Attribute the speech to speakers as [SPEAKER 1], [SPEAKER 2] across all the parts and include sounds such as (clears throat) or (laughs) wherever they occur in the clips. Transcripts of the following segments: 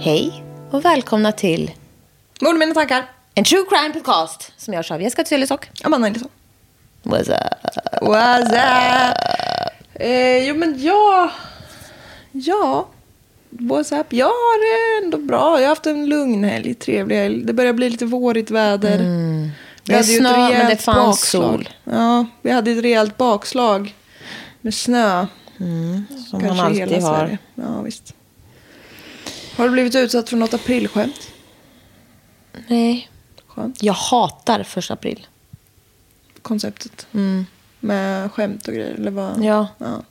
[SPEAKER 1] Hej och välkomna till
[SPEAKER 2] Mord, mina tankar.
[SPEAKER 1] en true crime podcast som görs av Jessica Tylesock.
[SPEAKER 2] Amanda Andersson.
[SPEAKER 1] What's up?
[SPEAKER 2] What's up? Eh, jo, men jag... Ja. What's up? Jag har det ändå bra. Jag har haft en lugn helg, trevlig helg. Det börjar bli lite vårigt väder.
[SPEAKER 1] Mm. Det är snö, men det
[SPEAKER 2] rejält
[SPEAKER 1] fanns sol.
[SPEAKER 2] Ja, vi hade ett rejält bakslag med snö.
[SPEAKER 1] Mm, Som
[SPEAKER 2] Kanske
[SPEAKER 1] man
[SPEAKER 2] i hela
[SPEAKER 1] alltid har.
[SPEAKER 2] Sverige. Ja, visst. Har du blivit utsatt för något aprilskämt?
[SPEAKER 1] Nej.
[SPEAKER 2] Skönt.
[SPEAKER 1] Jag hatar första april.
[SPEAKER 2] Konceptet. Med skämt och grejer, eller vad?
[SPEAKER 1] Mm. Ja.
[SPEAKER 2] ja.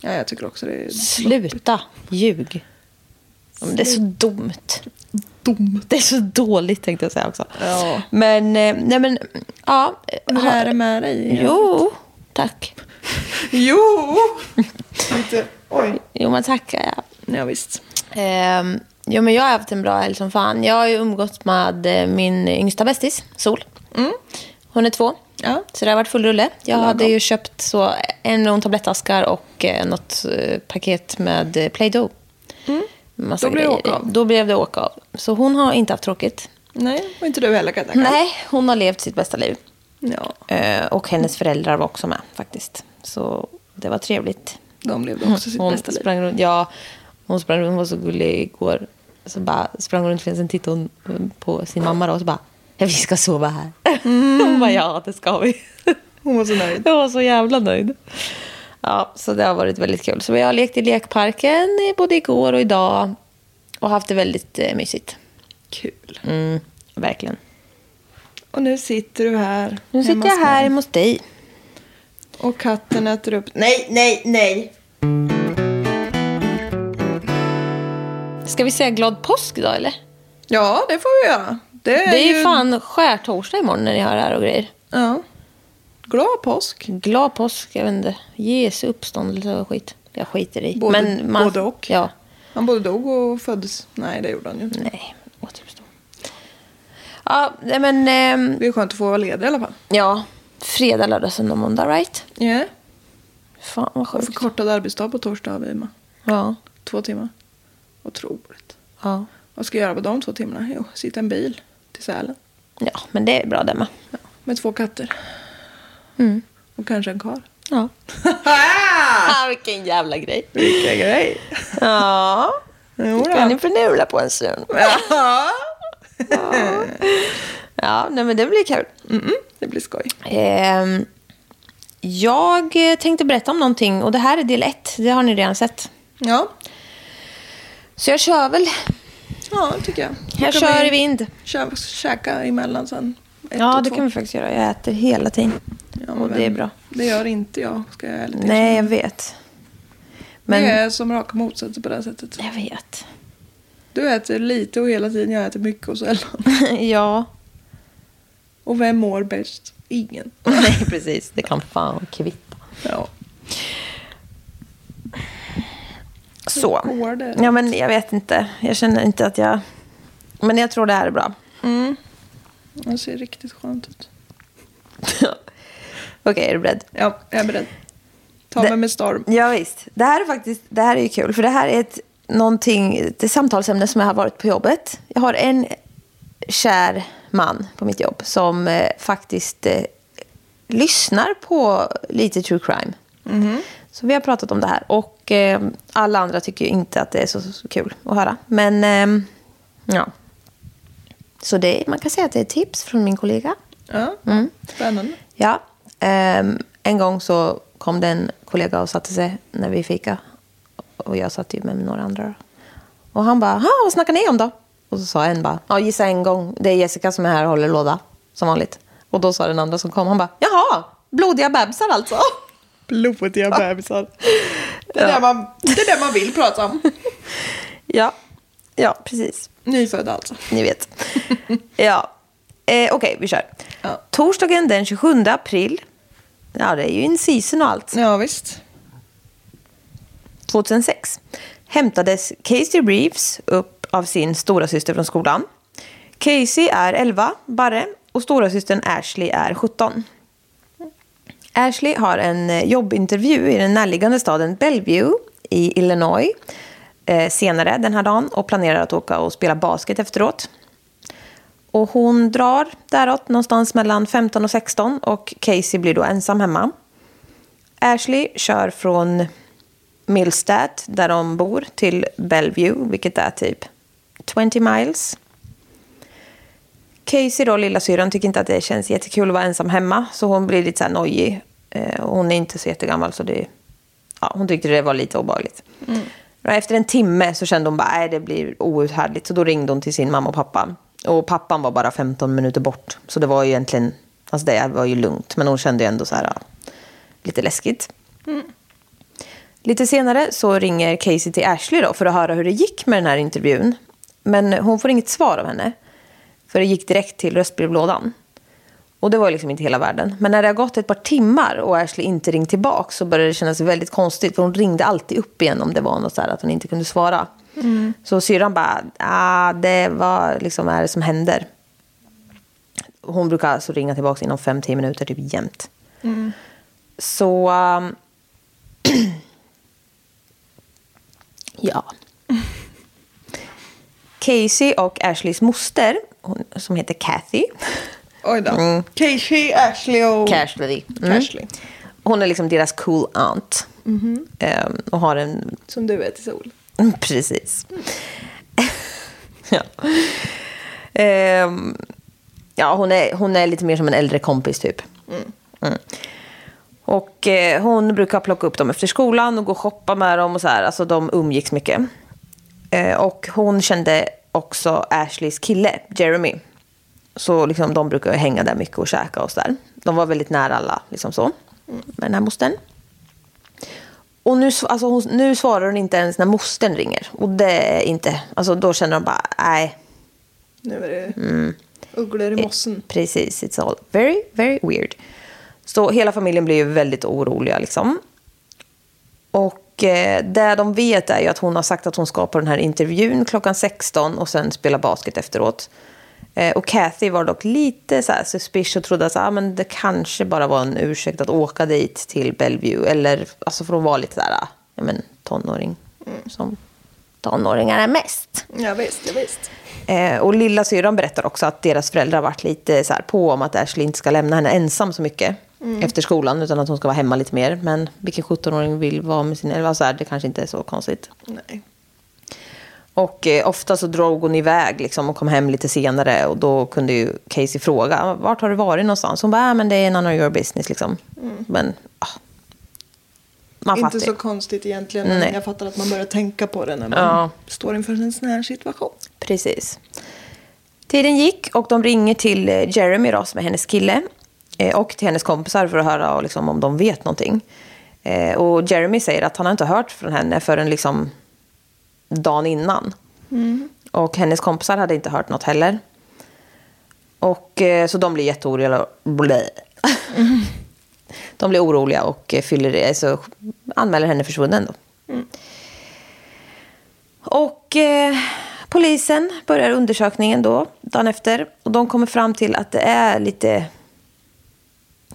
[SPEAKER 2] Ja, jag tycker också det är...
[SPEAKER 1] Sluta ljug. Ja, men Det är så dumt.
[SPEAKER 2] Dumt.
[SPEAKER 1] Det är så dåligt tänkte jag säga också.
[SPEAKER 2] Ja.
[SPEAKER 1] Men, eh, nej men, ja. eh,
[SPEAKER 2] Hur
[SPEAKER 1] ha-
[SPEAKER 2] är det med dig?
[SPEAKER 1] Jo, tack.
[SPEAKER 2] Jo! Lite, oj.
[SPEAKER 1] Jo, men tackar jag.
[SPEAKER 2] Ja, visst.
[SPEAKER 1] Ehm, ja, men jag har haft en bra helg som fan. Jag har ju umgått med eh, min yngsta bästis, Sol. Hon är två.
[SPEAKER 2] Mm. Ja.
[SPEAKER 1] Så det har varit full rulle. Jag hade ju köpt så en miljon tablettaskar och eh, något eh, paket med eh, Play-Doh. Massa
[SPEAKER 2] Mm. Då blev det
[SPEAKER 1] grejer.
[SPEAKER 2] åka av.
[SPEAKER 1] Då blev det åka av. Så hon har inte haft tråkigt.
[SPEAKER 2] Nej, och inte du heller kan jag tänka.
[SPEAKER 1] Nej, hon har levt sitt bästa liv.
[SPEAKER 2] Ja,
[SPEAKER 1] Eh, och hennes föräldrar var också med faktiskt. Så det var trevligt.
[SPEAKER 2] de levde också sitt
[SPEAKER 1] Mm, Hon
[SPEAKER 2] bästa liv.
[SPEAKER 1] sprang runt, ja, hon sprang runt, hon var så gullig igår. Så bara sprang hon runt och sen tittade hon mm, på sin mamma då, och så bara, ja, vi ska sova här. (laughs) Hon bara, ja det ska vi. (laughs)
[SPEAKER 2] Hon var så nöjd.
[SPEAKER 1] Jag var så jävla nöjd. Ja, så det har varit väldigt kul. Så vi har lekt i lekparken eh, både igår och idag och haft det väldigt eh, mysigt.
[SPEAKER 2] Kul.
[SPEAKER 1] Mm, verkligen.
[SPEAKER 2] Och nu sitter du här.
[SPEAKER 1] Nu
[SPEAKER 2] hemma
[SPEAKER 1] sitter jag
[SPEAKER 2] hos
[SPEAKER 1] här
[SPEAKER 2] mig.
[SPEAKER 1] hemma hos dig.
[SPEAKER 2] Och katten äter upp... Nej, nej, nej!
[SPEAKER 1] Ska vi säga glad påsk då eller?
[SPEAKER 2] Ja, det får vi göra. Det är,
[SPEAKER 1] Det är ju fan skärtorsdag imorgon när ni hör det här och grejer.
[SPEAKER 2] Ja. Glad påsk.
[SPEAKER 1] Glad påsk, jag vet inte. Jesu uppståndelse och skit. Jag skiter i.
[SPEAKER 2] Både- både och.
[SPEAKER 1] Ja.
[SPEAKER 2] Han både dog och föddes. Nej, det gjorde han ju inte.
[SPEAKER 1] Nej, återuppstå. Ja, nej men... ehm,
[SPEAKER 2] Det är skönt att få vara ledig i alla fall.
[SPEAKER 1] ja. Fredag, lördag, söndag, måndag, right?
[SPEAKER 2] Ja.
[SPEAKER 1] Fan vad
[SPEAKER 2] Och
[SPEAKER 1] sjukt.
[SPEAKER 2] förkortad arbetsdag på torsdag har vi med.
[SPEAKER 1] Ja.
[SPEAKER 2] Två timmar. Otroligt.
[SPEAKER 1] ja.
[SPEAKER 2] Vad ska jag göra på de två timmarna? Jo, sitta i en bil till Sälen.
[SPEAKER 1] Ja, men det är bra det med.
[SPEAKER 2] Med två katter. Och kanske en karl.
[SPEAKER 1] Ja. ah, vilken jävla grej.
[SPEAKER 2] Vilken grej!
[SPEAKER 1] Ja.
[SPEAKER 2] Jo
[SPEAKER 1] Kan ni
[SPEAKER 2] då.
[SPEAKER 1] förnula på en stund?
[SPEAKER 2] Ja.
[SPEAKER 1] Ja, nej men det blir kul.
[SPEAKER 2] Mm, (laughs) det blir skoj.
[SPEAKER 1] Ehm, jag eh, tänkte berätta om någonting och det här är del ett. Det har ni redan sett.
[SPEAKER 2] Ja,
[SPEAKER 1] Så jag kör väl.
[SPEAKER 2] ja det tycker jag. Då
[SPEAKER 1] Jag
[SPEAKER 2] kan
[SPEAKER 1] kör i
[SPEAKER 2] vi
[SPEAKER 1] vind.
[SPEAKER 2] Kö- käka emellan sen. Ett
[SPEAKER 1] Ja,
[SPEAKER 2] och
[SPEAKER 1] det
[SPEAKER 2] två.
[SPEAKER 1] kan vi faktiskt göra. Jag äter hela tiden.
[SPEAKER 2] Ja, men
[SPEAKER 1] och det är
[SPEAKER 2] vem-
[SPEAKER 1] bra.
[SPEAKER 2] Det gör inte jag, ska jag ärligt
[SPEAKER 1] Nej, jag
[SPEAKER 2] erkänna.
[SPEAKER 1] vet.
[SPEAKER 2] Det
[SPEAKER 1] liksom- Men
[SPEAKER 2] är som raka motsatser på det här sättet.
[SPEAKER 1] jag vet. (laughs)
[SPEAKER 2] Du äter lite och hela tiden, jag äter mycket och sällan.
[SPEAKER 1] ja,
[SPEAKER 2] Och vem mår bäst? ingen.
[SPEAKER 1] (laughs) Nej, precis. Det kan fan kvitta.
[SPEAKER 2] Ja.
[SPEAKER 1] Så.
[SPEAKER 2] Hur går det?
[SPEAKER 1] Ja, men jag vet inte. Jag känner inte att jag... Men jag tror det här är bra. (laughs)
[SPEAKER 2] Det ser riktigt skönt ut.
[SPEAKER 1] Okej, är du beredd?
[SPEAKER 2] Ja, jag är beredd. Ta
[SPEAKER 1] Det-
[SPEAKER 2] mig med storm.
[SPEAKER 1] Ja, visst. Det här är faktiskt, det här är ju kul, för det här är ett, någonting, ett samtalsämne som jag har varit på jobbet. Jag har en kär man på mitt jobb som eh, faktiskt eh, lyssnar på lite true crime. Så vi har pratat om det här och eh, alla andra tycker ju inte att det är så, så, så kul att höra. Men ehm, ja. Så det, man kan säga att det är tips från min kollega.
[SPEAKER 2] Ja.
[SPEAKER 1] Mm.
[SPEAKER 2] Spännande.
[SPEAKER 1] Ja. ehm, en gång så kom det en kollega och satte sig när vi fika. Och jag satt ju med några andra. då. Och han bara, "Ha, vad snackar ni om då? Och så sa en bara, ja gissa en gång. Det är Jessica som är här och håller låda, som vanligt. Och då sa den andra som kom, han bara, jaha, blodiga bebisar alltså.
[SPEAKER 2] Blodiga bebisar. Det är, där man, det är det man vill prata
[SPEAKER 1] (laughs)
[SPEAKER 2] om.
[SPEAKER 1] (laughs) Ja, ja precis.
[SPEAKER 2] Nyfödda alltså.
[SPEAKER 1] ni vet. (laughs) ja. Eh, Okej, vi kör.
[SPEAKER 2] Ja.
[SPEAKER 1] Torsdagen den 27 april. Ja, det är ju in season och allt.
[SPEAKER 2] Ja, visst.
[SPEAKER 1] 2006 hämtades Casey Reeves upp av sin stora syster från skolan. Casey är 11 barre och stora systern Ashley är 17. Ashley har en eh, jobbintervju i den närliggande staden Bellevue i Illinois eh, senare den här dagen och planerar att åka och spela basket efteråt. Och hon drar däråt någonstans mellan 15 och 16 och Casey blir då ensam hemma. Ashley kör från Millstad, där de bor, till Bellevue, vilket är typ 20 miles. Casey, då, lillasyrran, tycker inte att det känns jättekul att vara ensam hemma, så hon blir lite så här nojig. Eh, och Hon är inte så jättegammal, så det, ja, hon tyckte det var lite obehagligt. Men Efter en timme så kände hon bara att det blir outhärdligt, så då ringde hon till sin mamma och pappa. Och pappan var bara 15 minuter bort, så det var ju egentligen, alltså det var ju lugnt, men hon kände ju ändå så här, ja, lite läskigt. Lite senare så ringer Casey till Ashley då för att höra hur det gick med den här intervjun. Men hon får inget svar av henne. För det gick direkt till röstbrevlådan. Och det var ju liksom inte hela världen. Men när det har gått ett par timmar och Ashley inte ringt tillbaka så började det kännas väldigt konstigt. För hon ringde alltid upp igen om det var något så här att hon inte kunde svara. Så syrran bara, ah, det var liksom, vad är det som händer? Hon brukar alltså ringa tillbaka inom 5-10 minuter typ jämt. Så... ehm, Ja. Casey och Ashleys moster, hon, som heter Kathy.
[SPEAKER 2] Oj då.
[SPEAKER 1] Mm.
[SPEAKER 2] Casey, Ashley och...
[SPEAKER 1] Cashley.
[SPEAKER 2] Cashley.
[SPEAKER 1] Mm. Hon är liksom deras cool aunt. Ehm, och har en...
[SPEAKER 2] Som du är till sol.
[SPEAKER 1] Mm, Precis. (laughs) ja. Ehm, ja, hon är, hon är lite mer som en äldre kompis typ. Mm. Och eh, hon brukar plocka upp dem efter skolan och gå och shoppa med dem och så här. Alltså de umgicks mycket. Eh, och hon kände också Ashleys kille, Jeremy. Så liksom, de brukar hänga där mycket och käka och så där. De var väldigt nära alla, liksom så. Med den här mostern. Och nu, sv- alltså, hon, nu svarar hon inte ens när mostern ringer. Och det är inte... Alltså då känner de bara, nej.
[SPEAKER 2] Nu är det
[SPEAKER 1] Mm.
[SPEAKER 2] ugglor
[SPEAKER 1] Eh.
[SPEAKER 2] i mossen.
[SPEAKER 1] Precis, it's all very, very weird. Så hela familjen blir ju väldigt oroliga liksom. Och eh, det de vet är ju att hon har sagt att hon ska på den här intervjun klockan 16 och sen spela basket efteråt. Eh, och Kathy var dock lite så här suspicious och trodde att ah, men det kanske bara var en ursäkt att åka dit till Bellevue. Eller, alltså för hon var lite där, ja men tonåring. Som tonåringar är mest.
[SPEAKER 2] Ja, visst, ja, visst.
[SPEAKER 1] Eh, och lilla syrran berättar också att deras föräldrar varit lite så här på om att Ashley inte ska lämna henne ensam så mycket
[SPEAKER 2] Mm.
[SPEAKER 1] efter skolan, utan att hon ska vara hemma lite mer. Men vilken 17-åring vill vara med sin elva så här, det kanske inte är så konstigt.
[SPEAKER 2] Nej.
[SPEAKER 1] Och eh, ofta så drog hon iväg liksom, och kom hem lite senare och då kunde ju Casey fråga vart har du varit någonstans? Hon bara, äh, men det är none of your business liksom. Men, ah. Man
[SPEAKER 2] Mm. Inte
[SPEAKER 1] fattar ju.
[SPEAKER 2] så konstigt egentligen. Men
[SPEAKER 1] Nej.
[SPEAKER 2] jag fattar att man börjar tänka på det när man
[SPEAKER 1] Ja.
[SPEAKER 2] står inför en sån här situation.
[SPEAKER 1] Precis. Tiden gick och de ringer till eh, Jeremy då, som är hennes kille. eh, Och till hennes kompisar för att höra och liksom, om de vet någonting. Eh, Och Jeremy säger att han har inte hört från henne förrän liksom dagen innan. Och hennes kompisar hade inte hört något heller. Och eh, så de blir jätteoroliga. Blä. (laughs) De blir oroliga och eh, fyller, alltså, anmäler henne försvunnen. Då. Och eh, polisen börjar undersökningen då, dagen efter. Och de kommer fram till att det är lite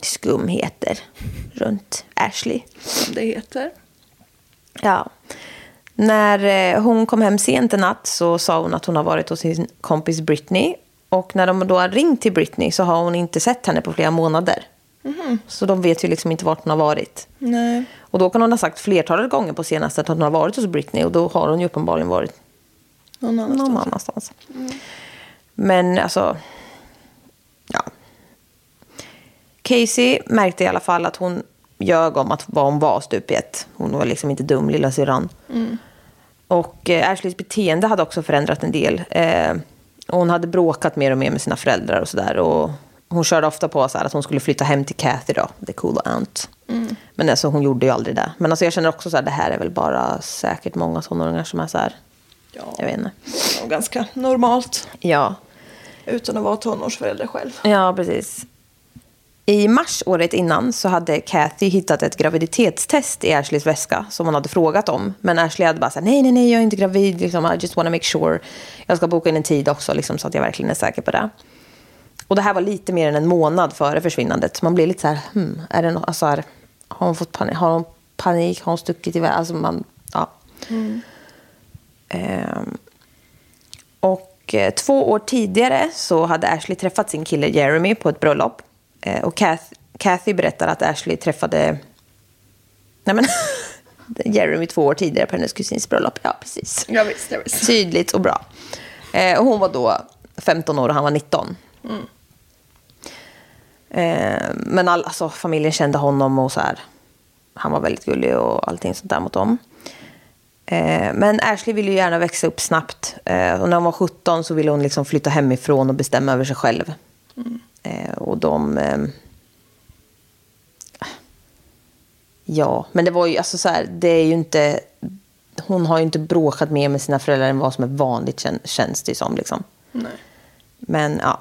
[SPEAKER 1] skumheter runt Ashley.
[SPEAKER 2] Som det heter.
[SPEAKER 1] Ja. När eh, hon kom hem sent en natt så sa hon att hon har varit hos sin kompis Britney. Och när de då har ringt till Britney så har hon inte sett henne på flera månader. Så de vet ju liksom inte vart hon har varit.
[SPEAKER 2] Nej.
[SPEAKER 1] Och då kan hon ha sagt flertalet gånger på senaste att hon har varit hos Britney. Och då har hon ju uppenbarligen varit
[SPEAKER 2] Någon annanstans.
[SPEAKER 1] någon annanstans. Men alltså... Ja. Casey märkte i alla fall att hon ljög om att vad hon var stup i ett. Hon var liksom inte dum, lilla syrran. Och eh, Ashleys beteende hade också förändrat en del. Eh, och hon hade bråkat mer och mer med sina föräldrar och sådär. Och hon körde ofta på så här att hon skulle flytta hem till Kathy då, the cool aunt. Men alltså hon gjorde ju aldrig det. Men alltså jag känner också så här, det här är väl bara säkert många tonåringar som är så här.
[SPEAKER 2] Ja.
[SPEAKER 1] Jag vet inte.
[SPEAKER 2] Det är nog ganska normalt.
[SPEAKER 1] Ja,
[SPEAKER 2] Utan att vara tonårsförälder själv.
[SPEAKER 1] Ja, precis. I mars året innan så hade Kathy hittat ett graviditetstest i Ashleys väska som hon hade frågat om. Men Ashley hade bara sagt nej, nej, nej, jag är inte gravid. Liksom, I just wanna make sure. Jag ska boka in en tid också liksom, så att jag verkligen är säker på det. Och det här var lite mer än en månad före försvinnandet. Så man blir lite så här, hmm, är det no alltså, här, har hon fått panik? Har hon panik? Har hon stuckit iväg? Alltså man, ja. Ehm, och eh, två år tidigare så hade Ashley träffat sin kille Jeremy på ett bröllop. Eh, och Kath, Kathy berättar att Ashley träffade nej men, (laughs) Jeremy två år tidigare på hennes kusins bröllop. Ja, precis.
[SPEAKER 2] Ja, visst, ja, visst.
[SPEAKER 1] Tydligt och bra. Eh, och hon var då 15 år och han var 19. Eh, men all, alltså, familjen kände honom och så här. Han var väldigt gullig och allting sånt där mot dem. Eh, men Ashley ville ju gärna växa upp snabbt. Eh, och när hon var 17 så ville hon liksom flytta hemifrån och bestämma över sig själv. Eh, och de... ehm, Ja, men det var ju alltså så här, det är ju inte... Hon har ju inte bråkat mer med sina föräldrar än vad som är vanligt kän, känns det ju som. Liksom.
[SPEAKER 2] Nej.
[SPEAKER 1] Men ja.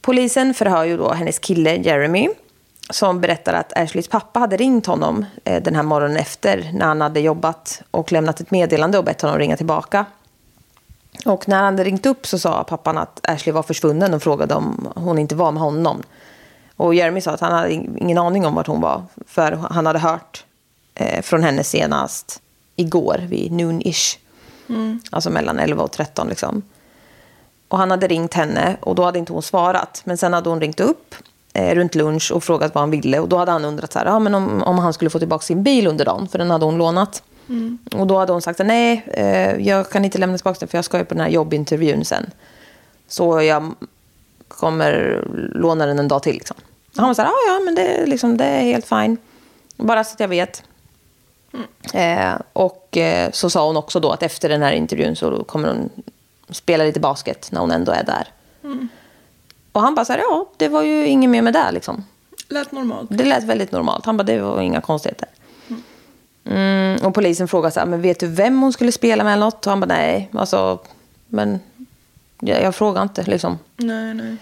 [SPEAKER 1] Polisen förhör ju då hennes kille Jeremy. Som berättar att Ashleys pappa hade ringt honom eh, den här morgonen efter när han hade jobbat och lämnat ett meddelande och bett honom ringa tillbaka. Och när han hade ringt upp så sa pappan att Ashley var försvunnen och frågade om hon inte var med honom. Och Jeremy sa att han hade ing- ingen aning om vart hon var för han hade hört eh, från henne senast igår vid noon-ish. Alltså mellan 11 och 13 liksom. Och han hade ringt henne och då hade inte hon svarat. Men sen hade hon ringt upp eh, runt lunch och frågat vad han ville. Och då hade han undrat så här, ja, men om, om han skulle få tillbaka sin bil under dagen, för den hade hon lånat. Och då hade hon sagt, nej, eh, jag kan inte lämna tillbaka den för jag ska ju på den här jobbintervjun sen. Så jag kommer låna den en dag till. Liksom. Och han var så här, ja, ja, men det, är liksom, det är helt fine. Bara så att jag vet. Eh, och eh, så sa hon också då att efter den här intervjun så kommer hon spela lite basket när hon ändå är där. Och han bara så här, ja, det var ju inget mer med det liksom.
[SPEAKER 2] Lät normalt.
[SPEAKER 1] Det lät väldigt normalt. Han bara, det var inga konstigheter. Mm, och polisen frågade så här, men vet du vem hon skulle spela med eller något? Och han bara, nej, alltså, men jag, jag frågar inte liksom.
[SPEAKER 2] Nej, nej.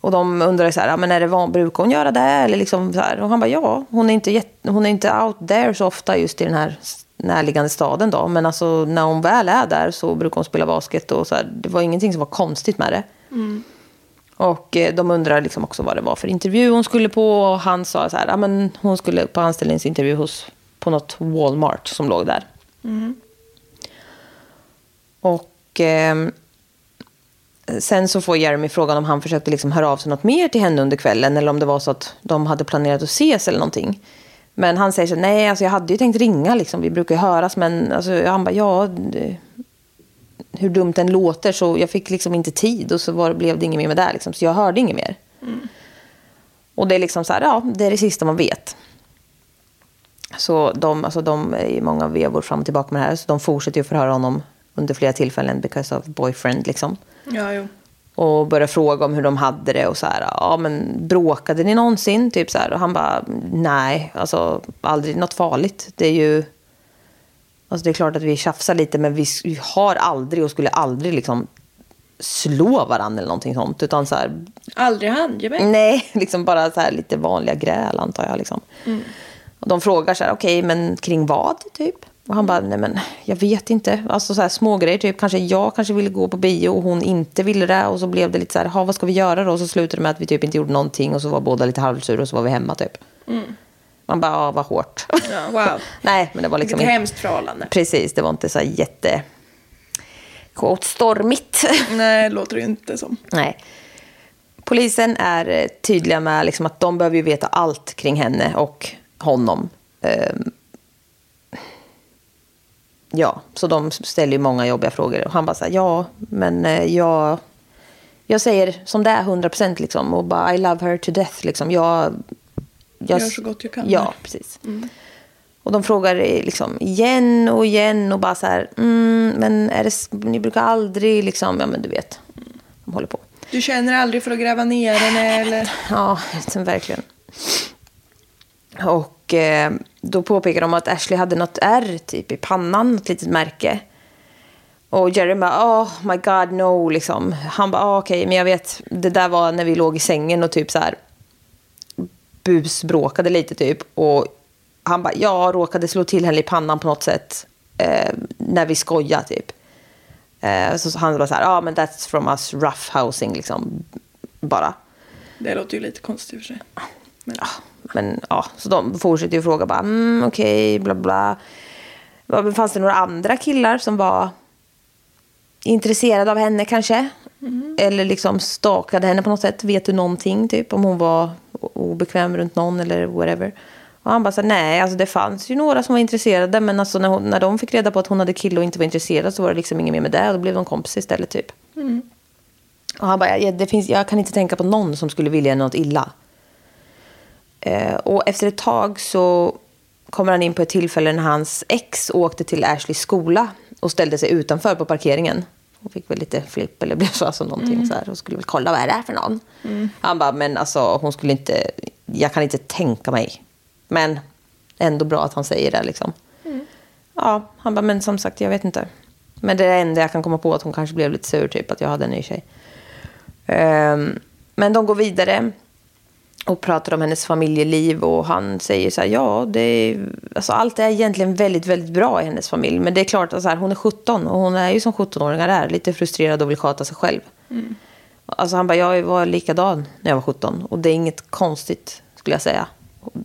[SPEAKER 1] Och de undrade så här, "Ja, men är det van, brukar hon göra det? Eller liksom så här. Och han bara, ja, hon är, inte jätt, hon är inte out there så ofta just i den här s- närliggande staden då. Men alltså när hon väl är där så brukar hon spela basket och så här, det var ingenting som var konstigt med det. Och eh, de undrade liksom också vad det var för intervju hon skulle på. Och han sa så här, "Ja, men hon skulle på anställningsintervju hos, på något Walmart som låg där. Och... ehm, Sen så får Jeremy frågan om han försökte liksom höra av sig något mer till henne under kvällen eller om det var så att de hade planerat att ses eller någonting. Men han säger så här, nej, alltså jag hade ju tänkt ringa, liksom. vi brukar ju höras, men alltså, han bara, ja, det- hur dumt den låter, så jag fick liksom inte tid och så var, blev det inget mer med det, här, liksom, så jag hörde inget mer. Och det är liksom så här, ja, det är det sista man vet. Så de, alltså de är ju många vevor fram och tillbaka med det här, så de fortsätter ju förhöra honom under flera tillfällen, because of boyfriend, liksom
[SPEAKER 2] Ja, jo.
[SPEAKER 1] och började fråga om hur de hade det och så här, ja men bråkade ni någonsin? Typ så här. Och han bara, nej, alltså aldrig något farligt. Det är ju, alltså det är klart att vi tjafsar lite men vi s- vi har aldrig och skulle aldrig liksom slå varandra eller någonting sånt. Utan så här,
[SPEAKER 2] Aldrig
[SPEAKER 1] (laughs)
[SPEAKER 2] handgemäng.
[SPEAKER 1] nej, liksom bara så här lite vanliga gräl antar jag. Liksom.
[SPEAKER 2] Mm.
[SPEAKER 1] Och de frågar så här, okej, men kring vad typ? Och han bara, nej men jag vet inte. Alltså så här smågrejer typ, kanske jag kanske ville gå på bio och hon inte ville det. Och så blev det lite så här, "Ha, vad ska vi göra då? Och så slutade det med att vi typ inte gjorde någonting och så var båda lite halvsura och så var vi hemma typ. Man bara, ja vad hårt.
[SPEAKER 2] Mm. Ja, wow.
[SPEAKER 1] (laughs) nej, men det var liksom
[SPEAKER 2] Vilket hemskt förhållande.
[SPEAKER 1] Precis, det var inte så här jätte... Quote, stormigt. (laughs)
[SPEAKER 2] Nej, det låter det inte som.
[SPEAKER 1] Nej. Polisen är eh, tydliga med liksom att de behöver ju veta allt kring henne och honom. Ehm. Ja, så de ställer ju många jobbiga frågor. Och han bara så här, ja, men eh, jag... Jag säger som det är 100% liksom och bara I love her to death liksom. Jag...
[SPEAKER 2] Gör så gott jag kan. Mm.
[SPEAKER 1] Ja, precis. Och de frågar eh, liksom igen och igen och bara så här, mm, men är det, s- ni brukar aldrig liksom, ja men du vet, de håller på.
[SPEAKER 2] Du känner aldrig för att gräva ner henne eller?
[SPEAKER 1] Ja, sen verkligen. Och eh, då påpekar de att Ashley hade något R typ i pannan, något litet märke. Och Jerry bara, oh my god no, liksom. Han bara, ah, okej, men jag vet, det där var när vi låg i sängen och typ så här busbråkade lite typ. Och han bara, jag råkade slå till henne i pannan på något sätt eh, när vi skojade typ. Eh, så, så han bara så här, ja ah, men that's from us roughhousing liksom, bara.
[SPEAKER 2] Det låter ju lite konstigt i och för sig. Men,
[SPEAKER 1] Men ja, så de fortsätter ju fråga bara, mm, okej, bla bla. Ja, men Fanns det några andra killar som var intresserade av henne kanske? Eller liksom stakade henne på något sätt? Vet du någonting, typ? Om hon var o- obekväm runt någon eller whatever. Och han bara så här, nej, alltså det fanns ju några som var intresserade. Men alltså när, hon, när de fick reda på att hon hade kille och inte var intresserad så var det liksom inget mer med det. Och då blev de kompis istället, typ. Och han bara, ja, det finns, jag kan inte tänka på någon som skulle vilja henne något illa. Eh, och efter ett tag så kommer han in på ett tillfälle när hans ex åkte till Ashleys skola och ställde sig utanför på parkeringen. Hon fick väl lite flipp eller blev så, alltså någonting så här. Hon skulle väl kolla vad är det här för någon. Han bara, men alltså hon skulle inte, jag kan inte tänka mig. Men ändå bra att han säger det liksom. Ja, han bara, men som sagt jag vet inte. Men det är det enda jag kan komma på att hon kanske blev lite sur typ att jag hade en ny tjej. Ehm, men de går vidare och pratar om hennes familjeliv och han säger så här, ja, det är, alltså allt är egentligen väldigt, väldigt bra i hennes familj. Men det är klart att så här, hon är 17 och hon är ju som 17-åringar är, lite frustrerad och vill sköta sig själv. Alltså han bara, jag var likadan när jag var 17 och det är inget konstigt skulle jag säga.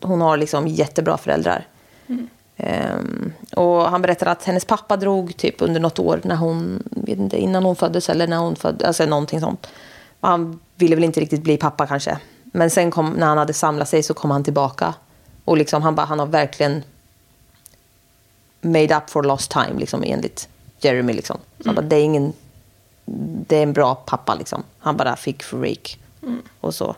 [SPEAKER 1] Hon har liksom jättebra föräldrar. Ehm, och han berättar att hennes pappa drog typ under något år när hon, vet inte, innan hon föddes eller när hon föddes, alltså någonting sånt. Och han ville väl inte riktigt bli pappa kanske. Men sen kom, när han hade samlat sig så kom han tillbaka. Och liksom, han bara, han har verkligen made up for lost time, liksom, enligt Jeremy. Liksom. Så han bara, det är ingen... Det är en bra pappa, liksom. Han bara fick freak. Och så.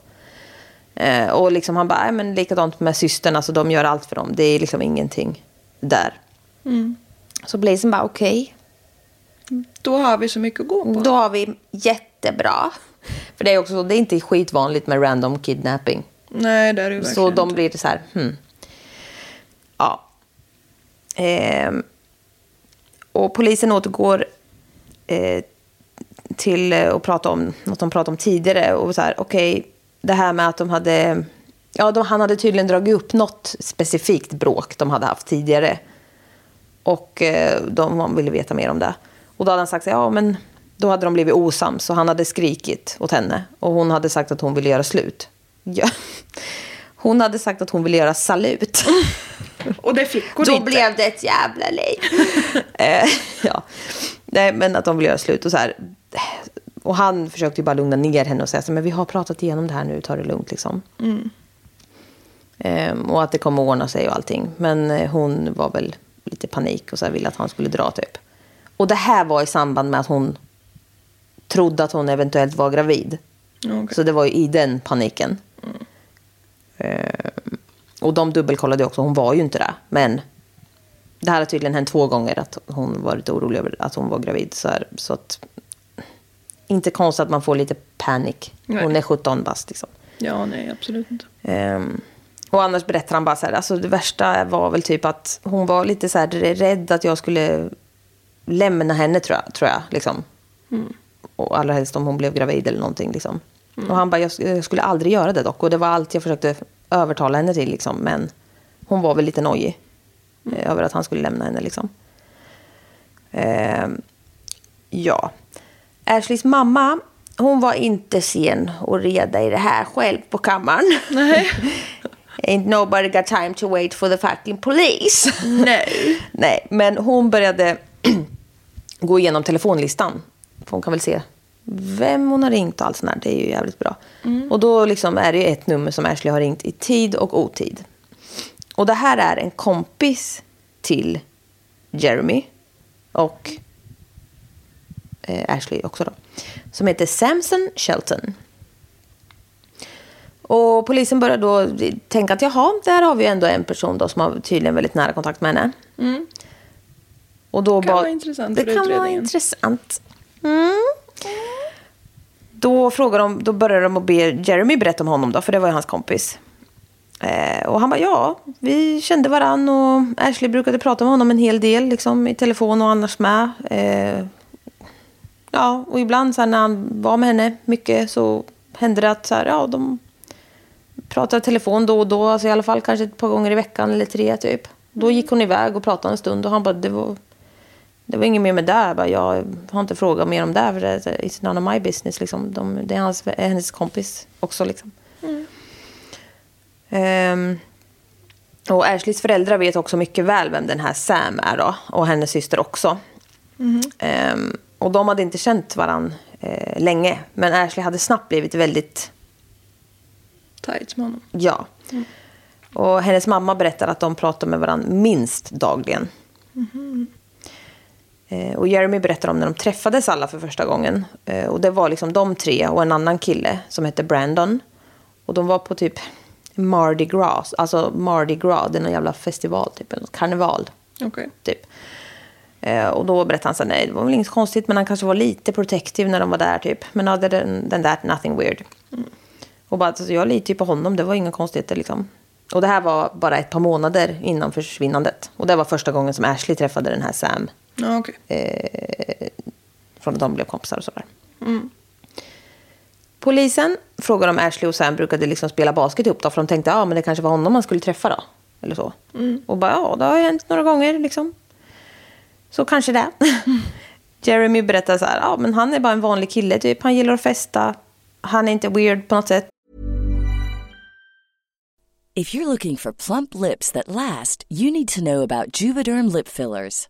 [SPEAKER 1] Eh, och liksom, han bara, "Nej, men likadant med systern, alltså, de gör allt för dem. Det är liksom ingenting där.
[SPEAKER 2] Mm.
[SPEAKER 1] Så Blazen bara, okej,
[SPEAKER 2] då har vi så mycket att gå på.
[SPEAKER 1] då har vi jättebra. För det är också så, det är inte skitvanligt med random kidnapping.
[SPEAKER 2] Nej, det är det ju verkligen
[SPEAKER 1] Så de
[SPEAKER 2] inte.
[SPEAKER 1] blir så här, hmm. Ja. Ehm. och polisen återgår eh, till eh, att prata om något de pratade om tidigare. Och så här, okej, det här med att de hade... Ja, de, han hade tydligen dragit upp något specifikt bråk de hade haft tidigare. Och eh, de de ville veta mer om det. Och då hade han sagt så här, ja men då hade de blivit osams. Så han hade skrikit åt henne. Och hon hade sagt att hon ville göra slut. Ja. (laughs) Hon hade sagt att hon ville göra salut.
[SPEAKER 2] Och det fick hon
[SPEAKER 1] Då
[SPEAKER 2] inte.
[SPEAKER 1] blev det ett jävla
[SPEAKER 2] (laughs)
[SPEAKER 1] liv. eh, ja. Nej, men att de vill göra slut och så här. Och han försökte ju bara lugna ner henne och säga så här, men vi har pratat igenom det här nu, ta det lugnt liksom.
[SPEAKER 2] Mm.
[SPEAKER 1] Eh, och att det kommer att ordna sig och allting. Men eh, hon var väl lite i panik och så här ville att han skulle dra typ. Och det här var i samband med att hon trodde att hon eventuellt var gravid.
[SPEAKER 2] Okej.
[SPEAKER 1] Så det var ju i den paniken. Ehm, och de dubbelkollade ju också, hon var ju inte det. Men det här har tydligen hänt två gånger att hon varit orolig över att hon var gravid. Så, här, så att, inte konstigt att man får lite panik.
[SPEAKER 2] Nej.
[SPEAKER 1] Hon är 17 bast liksom.
[SPEAKER 2] Ja, nej, absolut inte.
[SPEAKER 1] Ehm, och annars berättar han bara så här, alltså det värsta var väl typ att hon var lite så här rädd att jag skulle lämna henne tror jag. Tror jag liksom. Och allra helst om hon blev gravid eller någonting. Liksom. Och han bara, jag sk- jag skulle aldrig göra det dock. Och det var allt jag försökte övertala henne till. Liksom. Men hon var väl lite nojig eh, över att han skulle lämna henne. Liksom. Ehm, ja. Ashleys mamma, hon var inte sen och reda i det här själv på kammaren.
[SPEAKER 2] Nej.
[SPEAKER 1] (laughs) Ain't nobody got time to wait for the fucking police.
[SPEAKER 2] Nej.
[SPEAKER 1] (laughs) Nej, men hon började (clears throat) gå igenom telefonlistan. För hon kan väl se vem hon har ringt och allt sånt där. Det är ju jävligt bra.
[SPEAKER 2] Mm.
[SPEAKER 1] Och då liksom är det ju ett nummer som Ashley har ringt i tid och otid. Och det här är en kompis till Jeremy och eh, Ashley också då. Som heter Samson Shelton. Och polisen börjar då tänka att jaha, där har vi ju ändå en person då som har tydligen väldigt nära kontakt med henne. Och då
[SPEAKER 2] Mm. Kan
[SPEAKER 1] bara-
[SPEAKER 2] vara intressant
[SPEAKER 1] Det
[SPEAKER 2] för
[SPEAKER 1] kan vara
[SPEAKER 2] utredningen.
[SPEAKER 1] intressant. Mm. Då, frågar de, då börjar de att be Jeremy berätta om honom då, för det var ju hans kompis. Eh, och han bara, ja, vi kände varann och Ashley brukade prata med honom en hel del liksom, i telefon och annars med. Eh, ja, och ibland så här, när han var med henne mycket så hände det att så här, ja, de pratade i telefon då och då, alltså i alla fall kanske ett par gånger i veckan eller tre typ. Då gick hon iväg och pratade en stund och han bara, det var, det var inget mer med det. Jag, bara, jag har inte frågat mer om det, för det is none of my business. Liksom. De, det är hans, hennes kompis också. Liksom. Ehm, och Ashleys föräldrar vet också mycket väl vem den här Sam är då, och hennes syster också. Ehm, och de hade inte känt varann eh, länge, men Ashley hade snabbt blivit väldigt
[SPEAKER 2] Tight med honom.
[SPEAKER 1] Ja. Och hennes mamma berättar att de pratar med varandra minst dagligen. Eh, Och Jeremy berättar om när de träffades alla för första gången. Eh, Och det var liksom de tre och en annan kille som hette Brandon. Och de var på typ Mardi Gras. Alltså Mardi Gras, det är någon jävla festival typ. eller något Karneval
[SPEAKER 2] Okej.
[SPEAKER 1] typ. Eh, och då berättade han så här, nej det var väl inget konstigt men han kanske var lite protective när de var där typ. Men hade den, den där nothing weird. Mm. Och bara, alltså, jag litar ju på honom, det var inga konstigheter liksom. Och det här var bara ett par månader innan försvinnandet. Och det var första gången som Ashley träffade den här Sam.
[SPEAKER 2] Ja, okej.
[SPEAKER 1] eh, Från att de blev kompisar och sådär. Polisen frågar om Ashley och Sam brukade liksom spela basket ihop då, för de tänkte att ah, men det kanske var honom man skulle träffa då. Eller så. Och bara, ja, det har ju hänt några gånger liksom. Så kanske det. Jeremy berättar så här, ja, men han är bara en vanlig kille typ. Han gillar att festa. Han är inte weird på något sätt.
[SPEAKER 3] If you're looking for plump lips that last, you need to know about Juvederm lip fillers.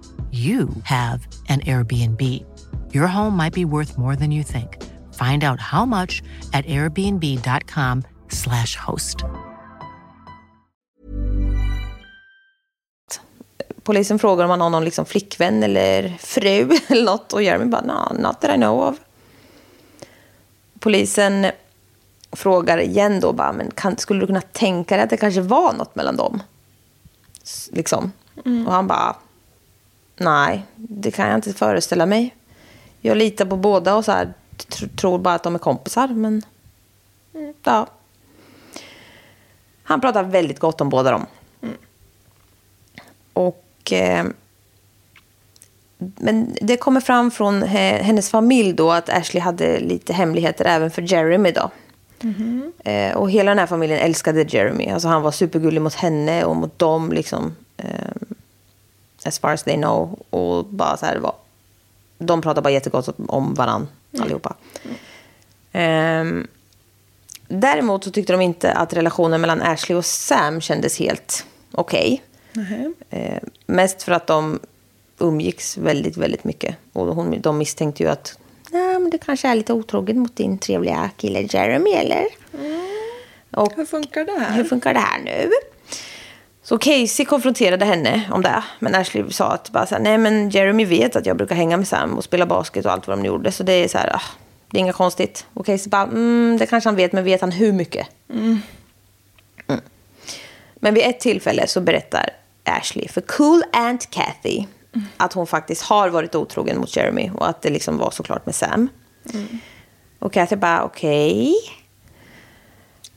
[SPEAKER 4] you have an Airbnb. Your home might be worth more than you think. Find out how much at airbnb.com/slash host.
[SPEAKER 1] Polisen frågar om han har någon liksom flickvän eller fru (laughs) eller något. Och Jeremy bara, nah, not that I know of. Polisen frågar igen då, bara, men kan, skulle du kunna tänka dig att det kanske var något mellan dem? S- Liksom. Och han bara, Nej, det kan jag inte föreställa mig. Jag litar på båda och så här, tr tror bara att de är kompisar, men... Mm, Ja. Han pratar väldigt gott om båda dem. Och... Eh, men det kommer fram från he- hennes familj då att Ashley hade lite hemligheter även för Jeremy då. Eh, och hela den här familjen älskade Jeremy. Alltså han var supergullig mot henne och mot dem liksom. Eh, as far as they know. Och bara så här var. De pratar bara jättegott om varann allihopa. Ehm, däremot så tyckte de inte att relationen mellan Ashley och Sam kändes helt okej. Eh, mest för att de umgicks väldigt, väldigt mycket. Och hon, de misstänkte ju att Nej, men du kanske är lite otrogen mot din trevliga kille Jeremy, eller? Och
[SPEAKER 2] Mm. Hur funkar det här?
[SPEAKER 1] hur funkar det här nu? Så Casey konfronterade henne om det. Men Ashley sa att bara så här, nej men Jeremy vet att jag brukar hänga med Sam och spela basket och allt vad de gjorde. Så det är så här, ah, det är inga konstigt. Och Casey bara, mm, det kanske han vet, men vet han hur mycket? Mm. Men vid ett tillfälle så berättar Ashley för cool aunt Kathy att hon faktiskt har varit otrogen mot Jeremy och att det liksom var såklart med Sam. Och Kathy bara, okej.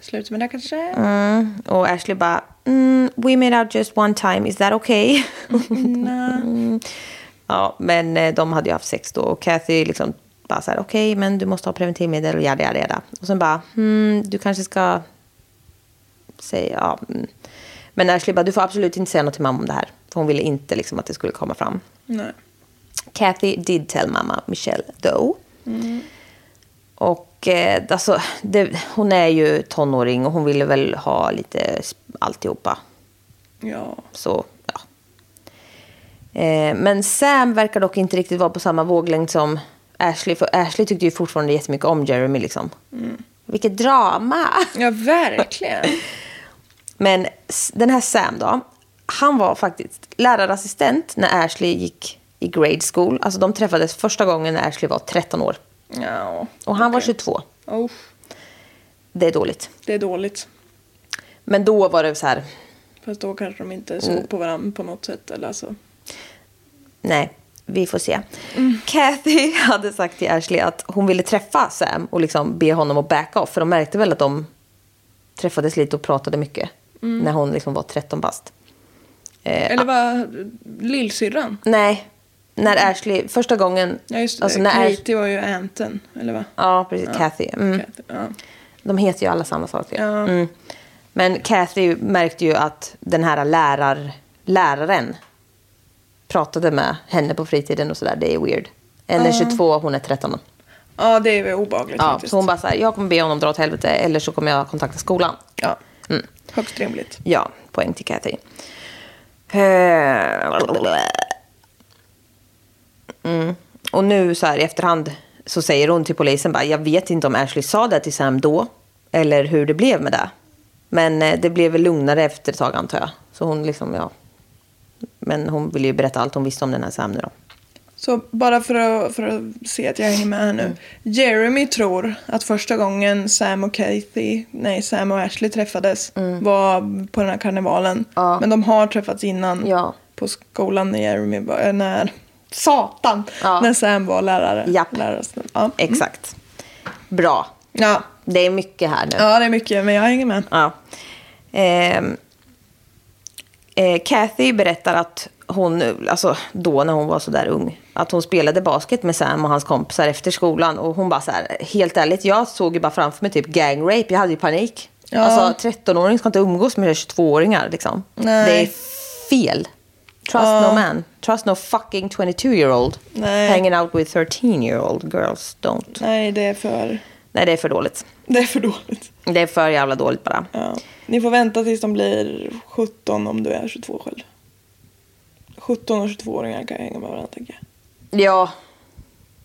[SPEAKER 2] Slut med det kanske?
[SPEAKER 1] Mm. Och Ashley bara, mm, we made out just one time, is that okay? Mm. (laughs) ja, men eh, de hade ju haft sex då och Kathy liksom bara så här, okej, men du måste ha preventivmedel och jada, jada, jada. Och sen bara, hmm, du kanske ska säga, ja. mm. Men Ashley bara, du får absolut inte säga något till mamma om det här. För hon ville inte liksom att det skulle komma fram.
[SPEAKER 2] Nej.
[SPEAKER 1] Kathy did tell mamma Michelle though. Och eh, alltså, det, hon är ju tonåring och hon ville väl ha lite sp- alltihopa.
[SPEAKER 2] Ja.
[SPEAKER 1] Så, ja. Eh, men Sam verkar dock inte riktigt vara på samma våglängd som Ashley. För Ashley tyckte ju fortfarande jättemycket om Jeremy liksom. Vilket drama!
[SPEAKER 2] Ja, verkligen.
[SPEAKER 1] Men s- den här Sam då, han var faktiskt lärarassistent när Ashley gick i grade school. Alltså de träffades första gången när Ashley var 13 år.
[SPEAKER 2] Ja.
[SPEAKER 1] Och han var 22.
[SPEAKER 2] Oh,
[SPEAKER 1] Det är dåligt.
[SPEAKER 2] det är dåligt.
[SPEAKER 1] Men då var det så här,
[SPEAKER 2] Fast då kanske de inte
[SPEAKER 1] Mm.
[SPEAKER 2] såg på varandra på något sätt. Eller alltså.
[SPEAKER 1] nej, vi får se.
[SPEAKER 2] Mm.
[SPEAKER 1] Kathy (laughs) hade sagt till Ashley att hon ville träffa Sam och liksom be honom att backa off. För de märkte väl att de träffades lite och pratade mycket.
[SPEAKER 2] Mm.
[SPEAKER 1] När hon liksom var 13 bast.
[SPEAKER 2] Eller var lillsyrran?
[SPEAKER 1] Nej, när Ashley, första gången.
[SPEAKER 2] Mm. Ja, just det.
[SPEAKER 1] alltså när Ash-
[SPEAKER 2] Katie var ju anten. Eller vad?
[SPEAKER 1] Ja, precis. Kathy. Mm.
[SPEAKER 2] Kathy, Ja.
[SPEAKER 1] De heter ju alla samma saker.
[SPEAKER 2] Ja.
[SPEAKER 1] Mm. Men Kathy märkte ju att den här lärar, läraren pratade med henne på fritiden och sådär. Det är weird. En är 22 hon är 13.
[SPEAKER 2] ja, det är väl obehagligt
[SPEAKER 1] Ja,
[SPEAKER 2] faktiskt.
[SPEAKER 1] så hon bara såhär, jag kommer be honom dra åt helvete eller så kommer jag kontakta skolan.
[SPEAKER 2] Ja.
[SPEAKER 1] Mm.
[SPEAKER 2] Högst rimligt.
[SPEAKER 1] Ja, poäng till Kathy. Eh, Mm. Och nu så här i efterhand så säger hon till polisen bara, jag vet inte om Ashley sa det till Sam då. Eller hur det blev med det. Men eh, det blev väl lugnare efter ett tag antar jag. Så hon liksom, ja. Men hon ville ju berätta allt hon visste om den här Sam nu då.
[SPEAKER 2] Så bara för att, för att se att jag hänger med här nu.
[SPEAKER 1] Mm.
[SPEAKER 2] Jeremy tror att första gången Sam och Kathy, nej Sam och Ashley träffades var på den här karnevalen.
[SPEAKER 1] Mm. Ja.
[SPEAKER 2] Men de har träffats innan
[SPEAKER 1] Ja.
[SPEAKER 2] på skolan när Jeremy var, äh, när, satan,
[SPEAKER 1] Ja.
[SPEAKER 2] när Sam var lärare.
[SPEAKER 1] Japp.
[SPEAKER 2] lärare ja.
[SPEAKER 1] Exakt. Bra.
[SPEAKER 2] Ja.
[SPEAKER 1] Det är mycket här nu.
[SPEAKER 2] ja, det är mycket men jag hänger med.
[SPEAKER 1] Ja. Ehm, eh, Kathy berättar att hon, alltså då när hon var så där ung, att hon spelade basket med Sam och hans kompisar efter skolan. Och hon bara så här, helt ärligt, jag såg ju bara framför mig typ gang rape, jag hade ju panik.
[SPEAKER 2] Ja.
[SPEAKER 1] Alltså 13-åringar ska inte umgås med 22-åringar liksom.
[SPEAKER 2] Nej.
[SPEAKER 1] Det är fel. Trust
[SPEAKER 2] Ja.
[SPEAKER 1] no man. Trust no fucking 22 year old.
[SPEAKER 2] Nej.
[SPEAKER 1] Hanging out with 13 year old girls don't.
[SPEAKER 2] Nej, det är för,
[SPEAKER 1] Nej, det är för dåligt.
[SPEAKER 2] det är för dåligt.
[SPEAKER 1] Det är för jävla dåligt bara.
[SPEAKER 2] Ja. Ni får vänta tills de blir 17 om du är 22 själv. 17 och 22-åringar kan hänga med varandra tänker jag.
[SPEAKER 1] Ja,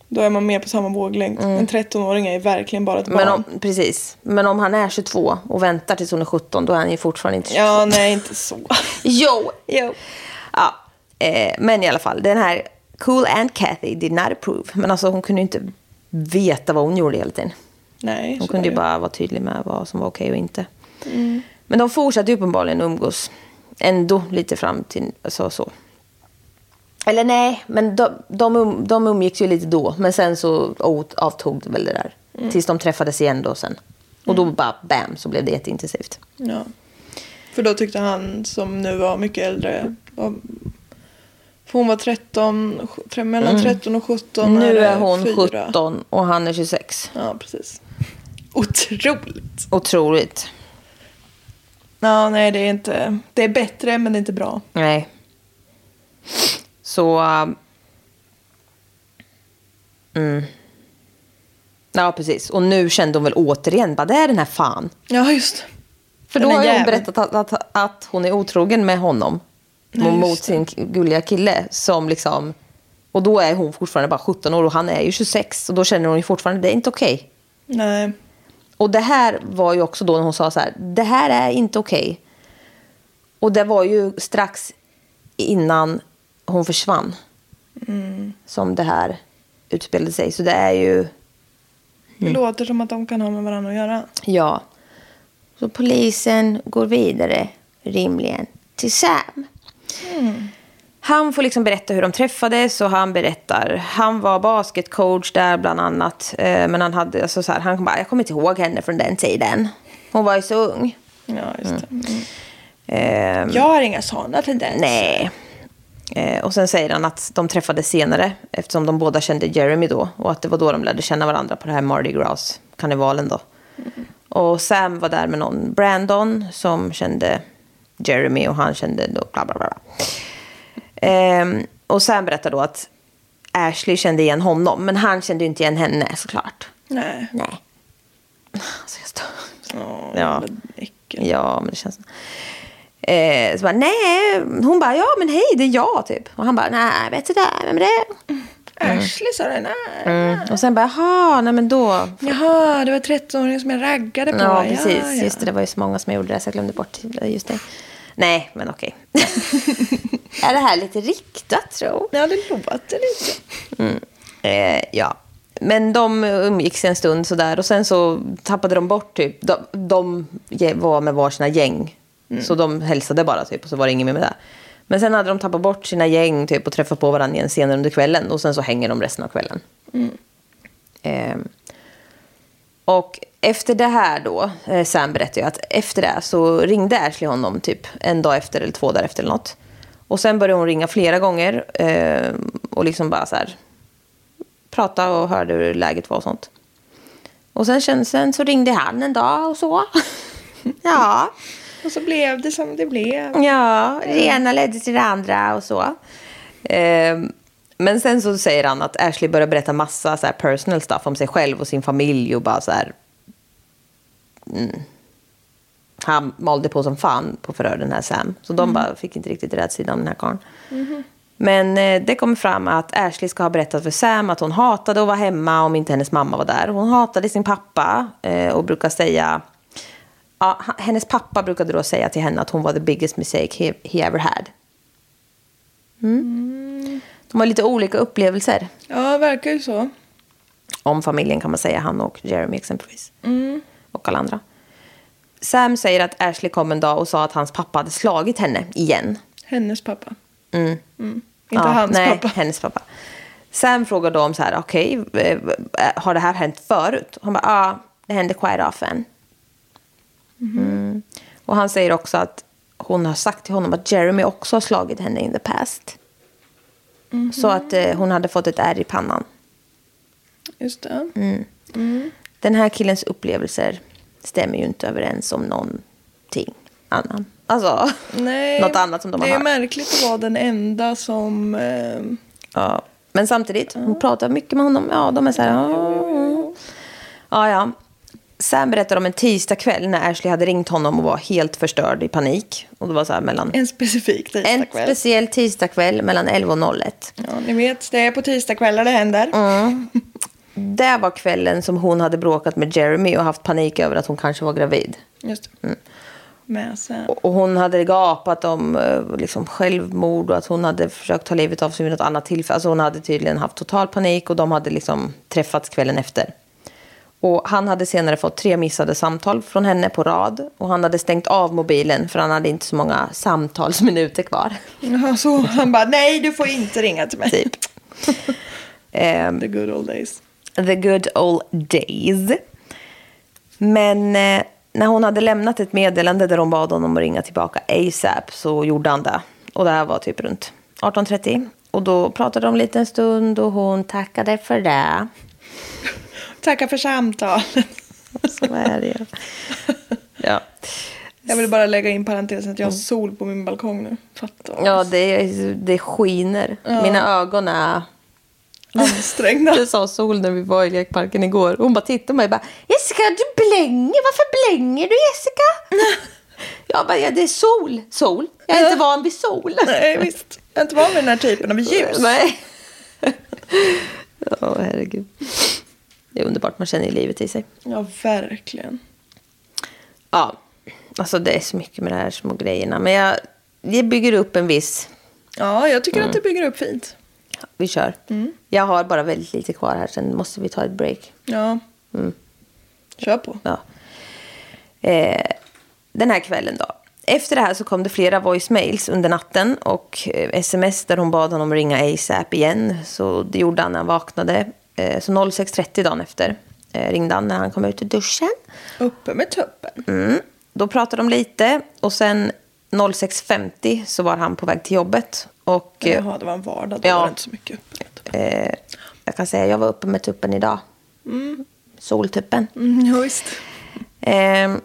[SPEAKER 2] Då är man mer på samma våglängd. En 13-åring är verkligen bara ett barn.
[SPEAKER 1] Mm. Men om, precis. Men om han är 22 och väntar tills hon är 17, då är han ju fortfarande inte 22.
[SPEAKER 2] Ja, nej inte så. (laughs)
[SPEAKER 1] Jo!
[SPEAKER 2] Jo.
[SPEAKER 1] Ja, eh, men i alla fall, den här cool aunt Kathy did not approve. Men alltså hon kunde ju inte veta vad hon gjorde hela tiden.
[SPEAKER 2] Nej,
[SPEAKER 1] Hon
[SPEAKER 2] så
[SPEAKER 1] kunde
[SPEAKER 2] är
[SPEAKER 1] ju
[SPEAKER 2] det. Mm.
[SPEAKER 1] bara vara tydlig med vad som var okej och inte. Men de fortsatte ju uppenbarligen umgås ändå lite fram till så. så. alltså, Eller nej, men de, de, um- de umgicks ju lite då. Men sen så ot- avtog det väl det där.
[SPEAKER 2] Mm.
[SPEAKER 1] Tills de träffades igen då sen. Och då bara bam så blev det jätteintensivt.
[SPEAKER 2] Ja. För då tyckte han som nu var mycket äldre. Var, för hon var 13, sj- tre- mellan 13 och 17.
[SPEAKER 1] Mm. nu är hon
[SPEAKER 2] eh, fyra.
[SPEAKER 1] 17 och han är 26.
[SPEAKER 2] Ja, precis. Otroligt.
[SPEAKER 1] Otroligt.
[SPEAKER 2] Ja, nej det är inte. Det är bättre men det är inte bra.
[SPEAKER 1] Nej. Så... Um, mm. Ja, precis. Och nu kände hon väl återigen, bara det är den här fan.
[SPEAKER 2] Ja, just det.
[SPEAKER 1] För då
[SPEAKER 2] Den är
[SPEAKER 1] har ju hon
[SPEAKER 2] jävlig.
[SPEAKER 1] berättat att, att, att hon är otrogen med honom.
[SPEAKER 2] Nej,
[SPEAKER 1] mot
[SPEAKER 2] just
[SPEAKER 1] sin
[SPEAKER 2] det.
[SPEAKER 1] gulliga kille. Som liksom, och då är hon fortfarande bara 17 år och han är ju 26. Och då känner hon ju fortfarande, det är inte okej.
[SPEAKER 2] Nej.
[SPEAKER 1] Och det här var ju också då när hon sa så här, det här är inte okej. Och det var ju strax innan hon försvann som det här utspelade sig. Så det är ju,
[SPEAKER 2] Det låter som att de kan ha med varandra att göra.
[SPEAKER 1] ja. Så polisen går vidare, rimligen, till Sam. Han får liksom berätta hur de träffades och han berättar. Han var basketcoach där bland annat. Eh, Men han hade, alltså så här, han bara, jag kommer inte ihåg henne från den tiden. Hon var ju så ung.
[SPEAKER 2] Ja, just det. Mm.
[SPEAKER 1] Ehm,
[SPEAKER 2] Jag har inga sådana tendenser.
[SPEAKER 1] Nej. Eh, och sen säger han att de träffades senare eftersom de båda kände Jeremy då och att det var då de lärde känna varandra på det här Mardi Gras-karnevalen då. Och Sam var där med någon Brandon som kände Jeremy och han kände då bla bla bla. bla. Ehm, och Sam berättar då att Ashley kände igen honom men han kände ju inte igen henne såklart.
[SPEAKER 2] Nej.
[SPEAKER 1] Nej. Alltså jag stör.
[SPEAKER 2] Åh,
[SPEAKER 1] Ja.
[SPEAKER 2] ja. Äckel.
[SPEAKER 1] Ja, men det känns... Eh, så bara, nej. Hon bara, ja men hej, det är jag typ. Och han bara, nej, vet du det, vem är det?
[SPEAKER 2] Ashley sa det. Nej.
[SPEAKER 1] Och sen bara, jaha, nej men då.
[SPEAKER 2] Jaha, det var 13-åringen som jag raggade på.
[SPEAKER 1] Ja, precis.
[SPEAKER 2] ja.
[SPEAKER 1] Just det, det var ju så många som gjorde det så jag glömde bort just det. Nej, men okej. är det här lite riktat, tro?
[SPEAKER 2] Ja, det låter lite.
[SPEAKER 1] Eh, ja. Men de umgicks en stund sådär och sen så tappade de bort typ. De, de ge- var med varsina gäng. Så de hälsade bara typ och så var det inget mer med det. Men sen hade de tappat bort sina gäng typ och träffat på varandra igen senare under kvällen. Och sen så hänger de resten av kvällen. Ehm. och efter det här då, eh, Sam berättade ju att efter det så ringde Ashley honom typ en dag efter eller två dagar efter eller något. Och sen började hon ringa flera gånger eh, och liksom bara så här prata och hörde hur läget var och sånt. Och sen, sen, sen så ringde han en dag och så. (laughs) ja.
[SPEAKER 2] Och så blev det som det blev.
[SPEAKER 1] Mm. Ja, det ena ledde till det andra och så. Ehm, men sen så säger han att Ashley börjar berätta massa så här personal stuff om sig själv och sin familj och bara så här. Mm. Han malde på som fan på förhör den här Sam. Så de bara fick inte riktigt rätt sida om den här karln. Men eh, det kommer fram att Ashley ska ha berättat för Sam att hon hatade att vara hemma om inte hennes mamma var där. Hon hatade sin pappa eh, och brukar säga Ja, h- hennes pappa brukade då säga till henne att hon var the biggest mistake he, he ever had. Mm. De har lite olika upplevelser
[SPEAKER 2] Ja, det verkar ju så.
[SPEAKER 1] om familjen kan man säga, han och Jeremy exempelvis. Och alla andra. Sam säger att Ashley kom en dag och sa att hans pappa hade slagit henne igen.
[SPEAKER 2] Hennes pappa.
[SPEAKER 1] Mm.
[SPEAKER 2] Inte
[SPEAKER 1] Ja,
[SPEAKER 2] hans
[SPEAKER 1] nej,
[SPEAKER 2] pappa.
[SPEAKER 1] hennes pappa. Sam frågar då om så här, okej, eh, eh, har det här hänt förut? Hon bara, ja, ah, det händer quite often. Mm. Och han säger också att hon har sagt till honom att Jeremy också har slagit henne in the past.
[SPEAKER 2] Mhm.
[SPEAKER 1] Så att eh, hon hade fått ett ärr i pannan.
[SPEAKER 2] Just det.
[SPEAKER 1] Mm. Den här killens upplevelser stämmer ju inte överens om någonting annan. Alltså,
[SPEAKER 2] Nej,
[SPEAKER 1] något annat som de har
[SPEAKER 2] Det är
[SPEAKER 1] hört.
[SPEAKER 2] märkligt att vara den enda som... Eh,
[SPEAKER 1] Ja. Men samtidigt, hon pratar mycket med honom. Ja, de är så här... Ja, ja. ja. Sam berättar om en tisdagkväll när Ashley hade ringt honom och var helt förstörd i panik. Och det var så här mellan...
[SPEAKER 2] en specifik
[SPEAKER 1] En
[SPEAKER 2] tisdagkväll.
[SPEAKER 1] speciell tisdagkväll mellan 11 och 01.
[SPEAKER 2] ja, ni vet, det är på tisdagskvällar det händer.
[SPEAKER 1] Det var kvällen som hon hade bråkat med Jeremy och haft panik över att hon kanske var gravid.
[SPEAKER 2] Just det. Med sen.
[SPEAKER 1] Och hon hade gapat om eh, liksom, självmord och att hon hade försökt ta livet av sig vid något annat tillfälle. Alltså hon hade tydligen haft total panik och de hade liksom träffats kvällen efter. Och han hade senare fått tre missade samtal från henne på rad. Och han hade stängt av mobilen för han hade inte så många samtalsminuter kvar.
[SPEAKER 2] Jaha, så han bara, nej du får inte ringa till mig.
[SPEAKER 1] Typ. Ehm,
[SPEAKER 2] The good old days.
[SPEAKER 1] The good old days. Men eh, när hon hade lämnat ett meddelande där hon bad honom att ringa tillbaka ASAP så gjorde han det. Och det här var typ runt 18.30. Och då pratade de lite en stund och hon tackade för det.
[SPEAKER 2] Tackar för samtalet.
[SPEAKER 1] Så är det ju. Ja.
[SPEAKER 2] Jag vill bara lägga in parentesen att jag har sol på min balkong nu. Fattar vad
[SPEAKER 1] Ja, det, är- det skiner. Mina ögon är...
[SPEAKER 2] ansträngda. (laughs)
[SPEAKER 1] Det sa Sol när (laughs) vi var i lekparken igår. Hon bara tittade på mig och bara Jessica, du blänger. Varför blänger du Jessica? (laughs) Jag bara, ja, det är sol. Sol. Jag är inte van vid sol.
[SPEAKER 2] (laughs) Nej, visst. Jag är inte van vid den här typen av ljus.
[SPEAKER 1] Nej. (laughs) Åh, herregud. Det är underbart, man känner ju livet i sig.
[SPEAKER 2] Ja, verkligen.
[SPEAKER 1] Ja, alltså det är så mycket med de här små grejerna. Men jag, jag bygger upp en viss...
[SPEAKER 2] Ja, jag tycker att det bygger upp fint.
[SPEAKER 1] Vi kör. Jag har bara väldigt lite kvar här, sen måste vi ta ett break.
[SPEAKER 2] Ja. Mm. Kör på.
[SPEAKER 1] Ja. Eh, den här kvällen då. Efter det här så kom det flera voicemails under natten och eh, sms där hon bad honom ringa ASAP igen. Så det gjorde han när han vaknade. Eh, så 06.30 dagen efter eh, ringde han när han kom ut ur duschen.
[SPEAKER 2] Uppe med tuppen.
[SPEAKER 1] Mm. Då pratade de lite och sen 06.50 så var han på väg till jobbet. Och eh,
[SPEAKER 2] Jaha, det var en vardag. Då
[SPEAKER 1] Ja.
[SPEAKER 2] var det inte så mycket uppe.
[SPEAKER 1] eh, jag kan säga jag var uppe med tuppen idag. Soltuppen.
[SPEAKER 2] Mm, ja, visst.
[SPEAKER 1] Ehm,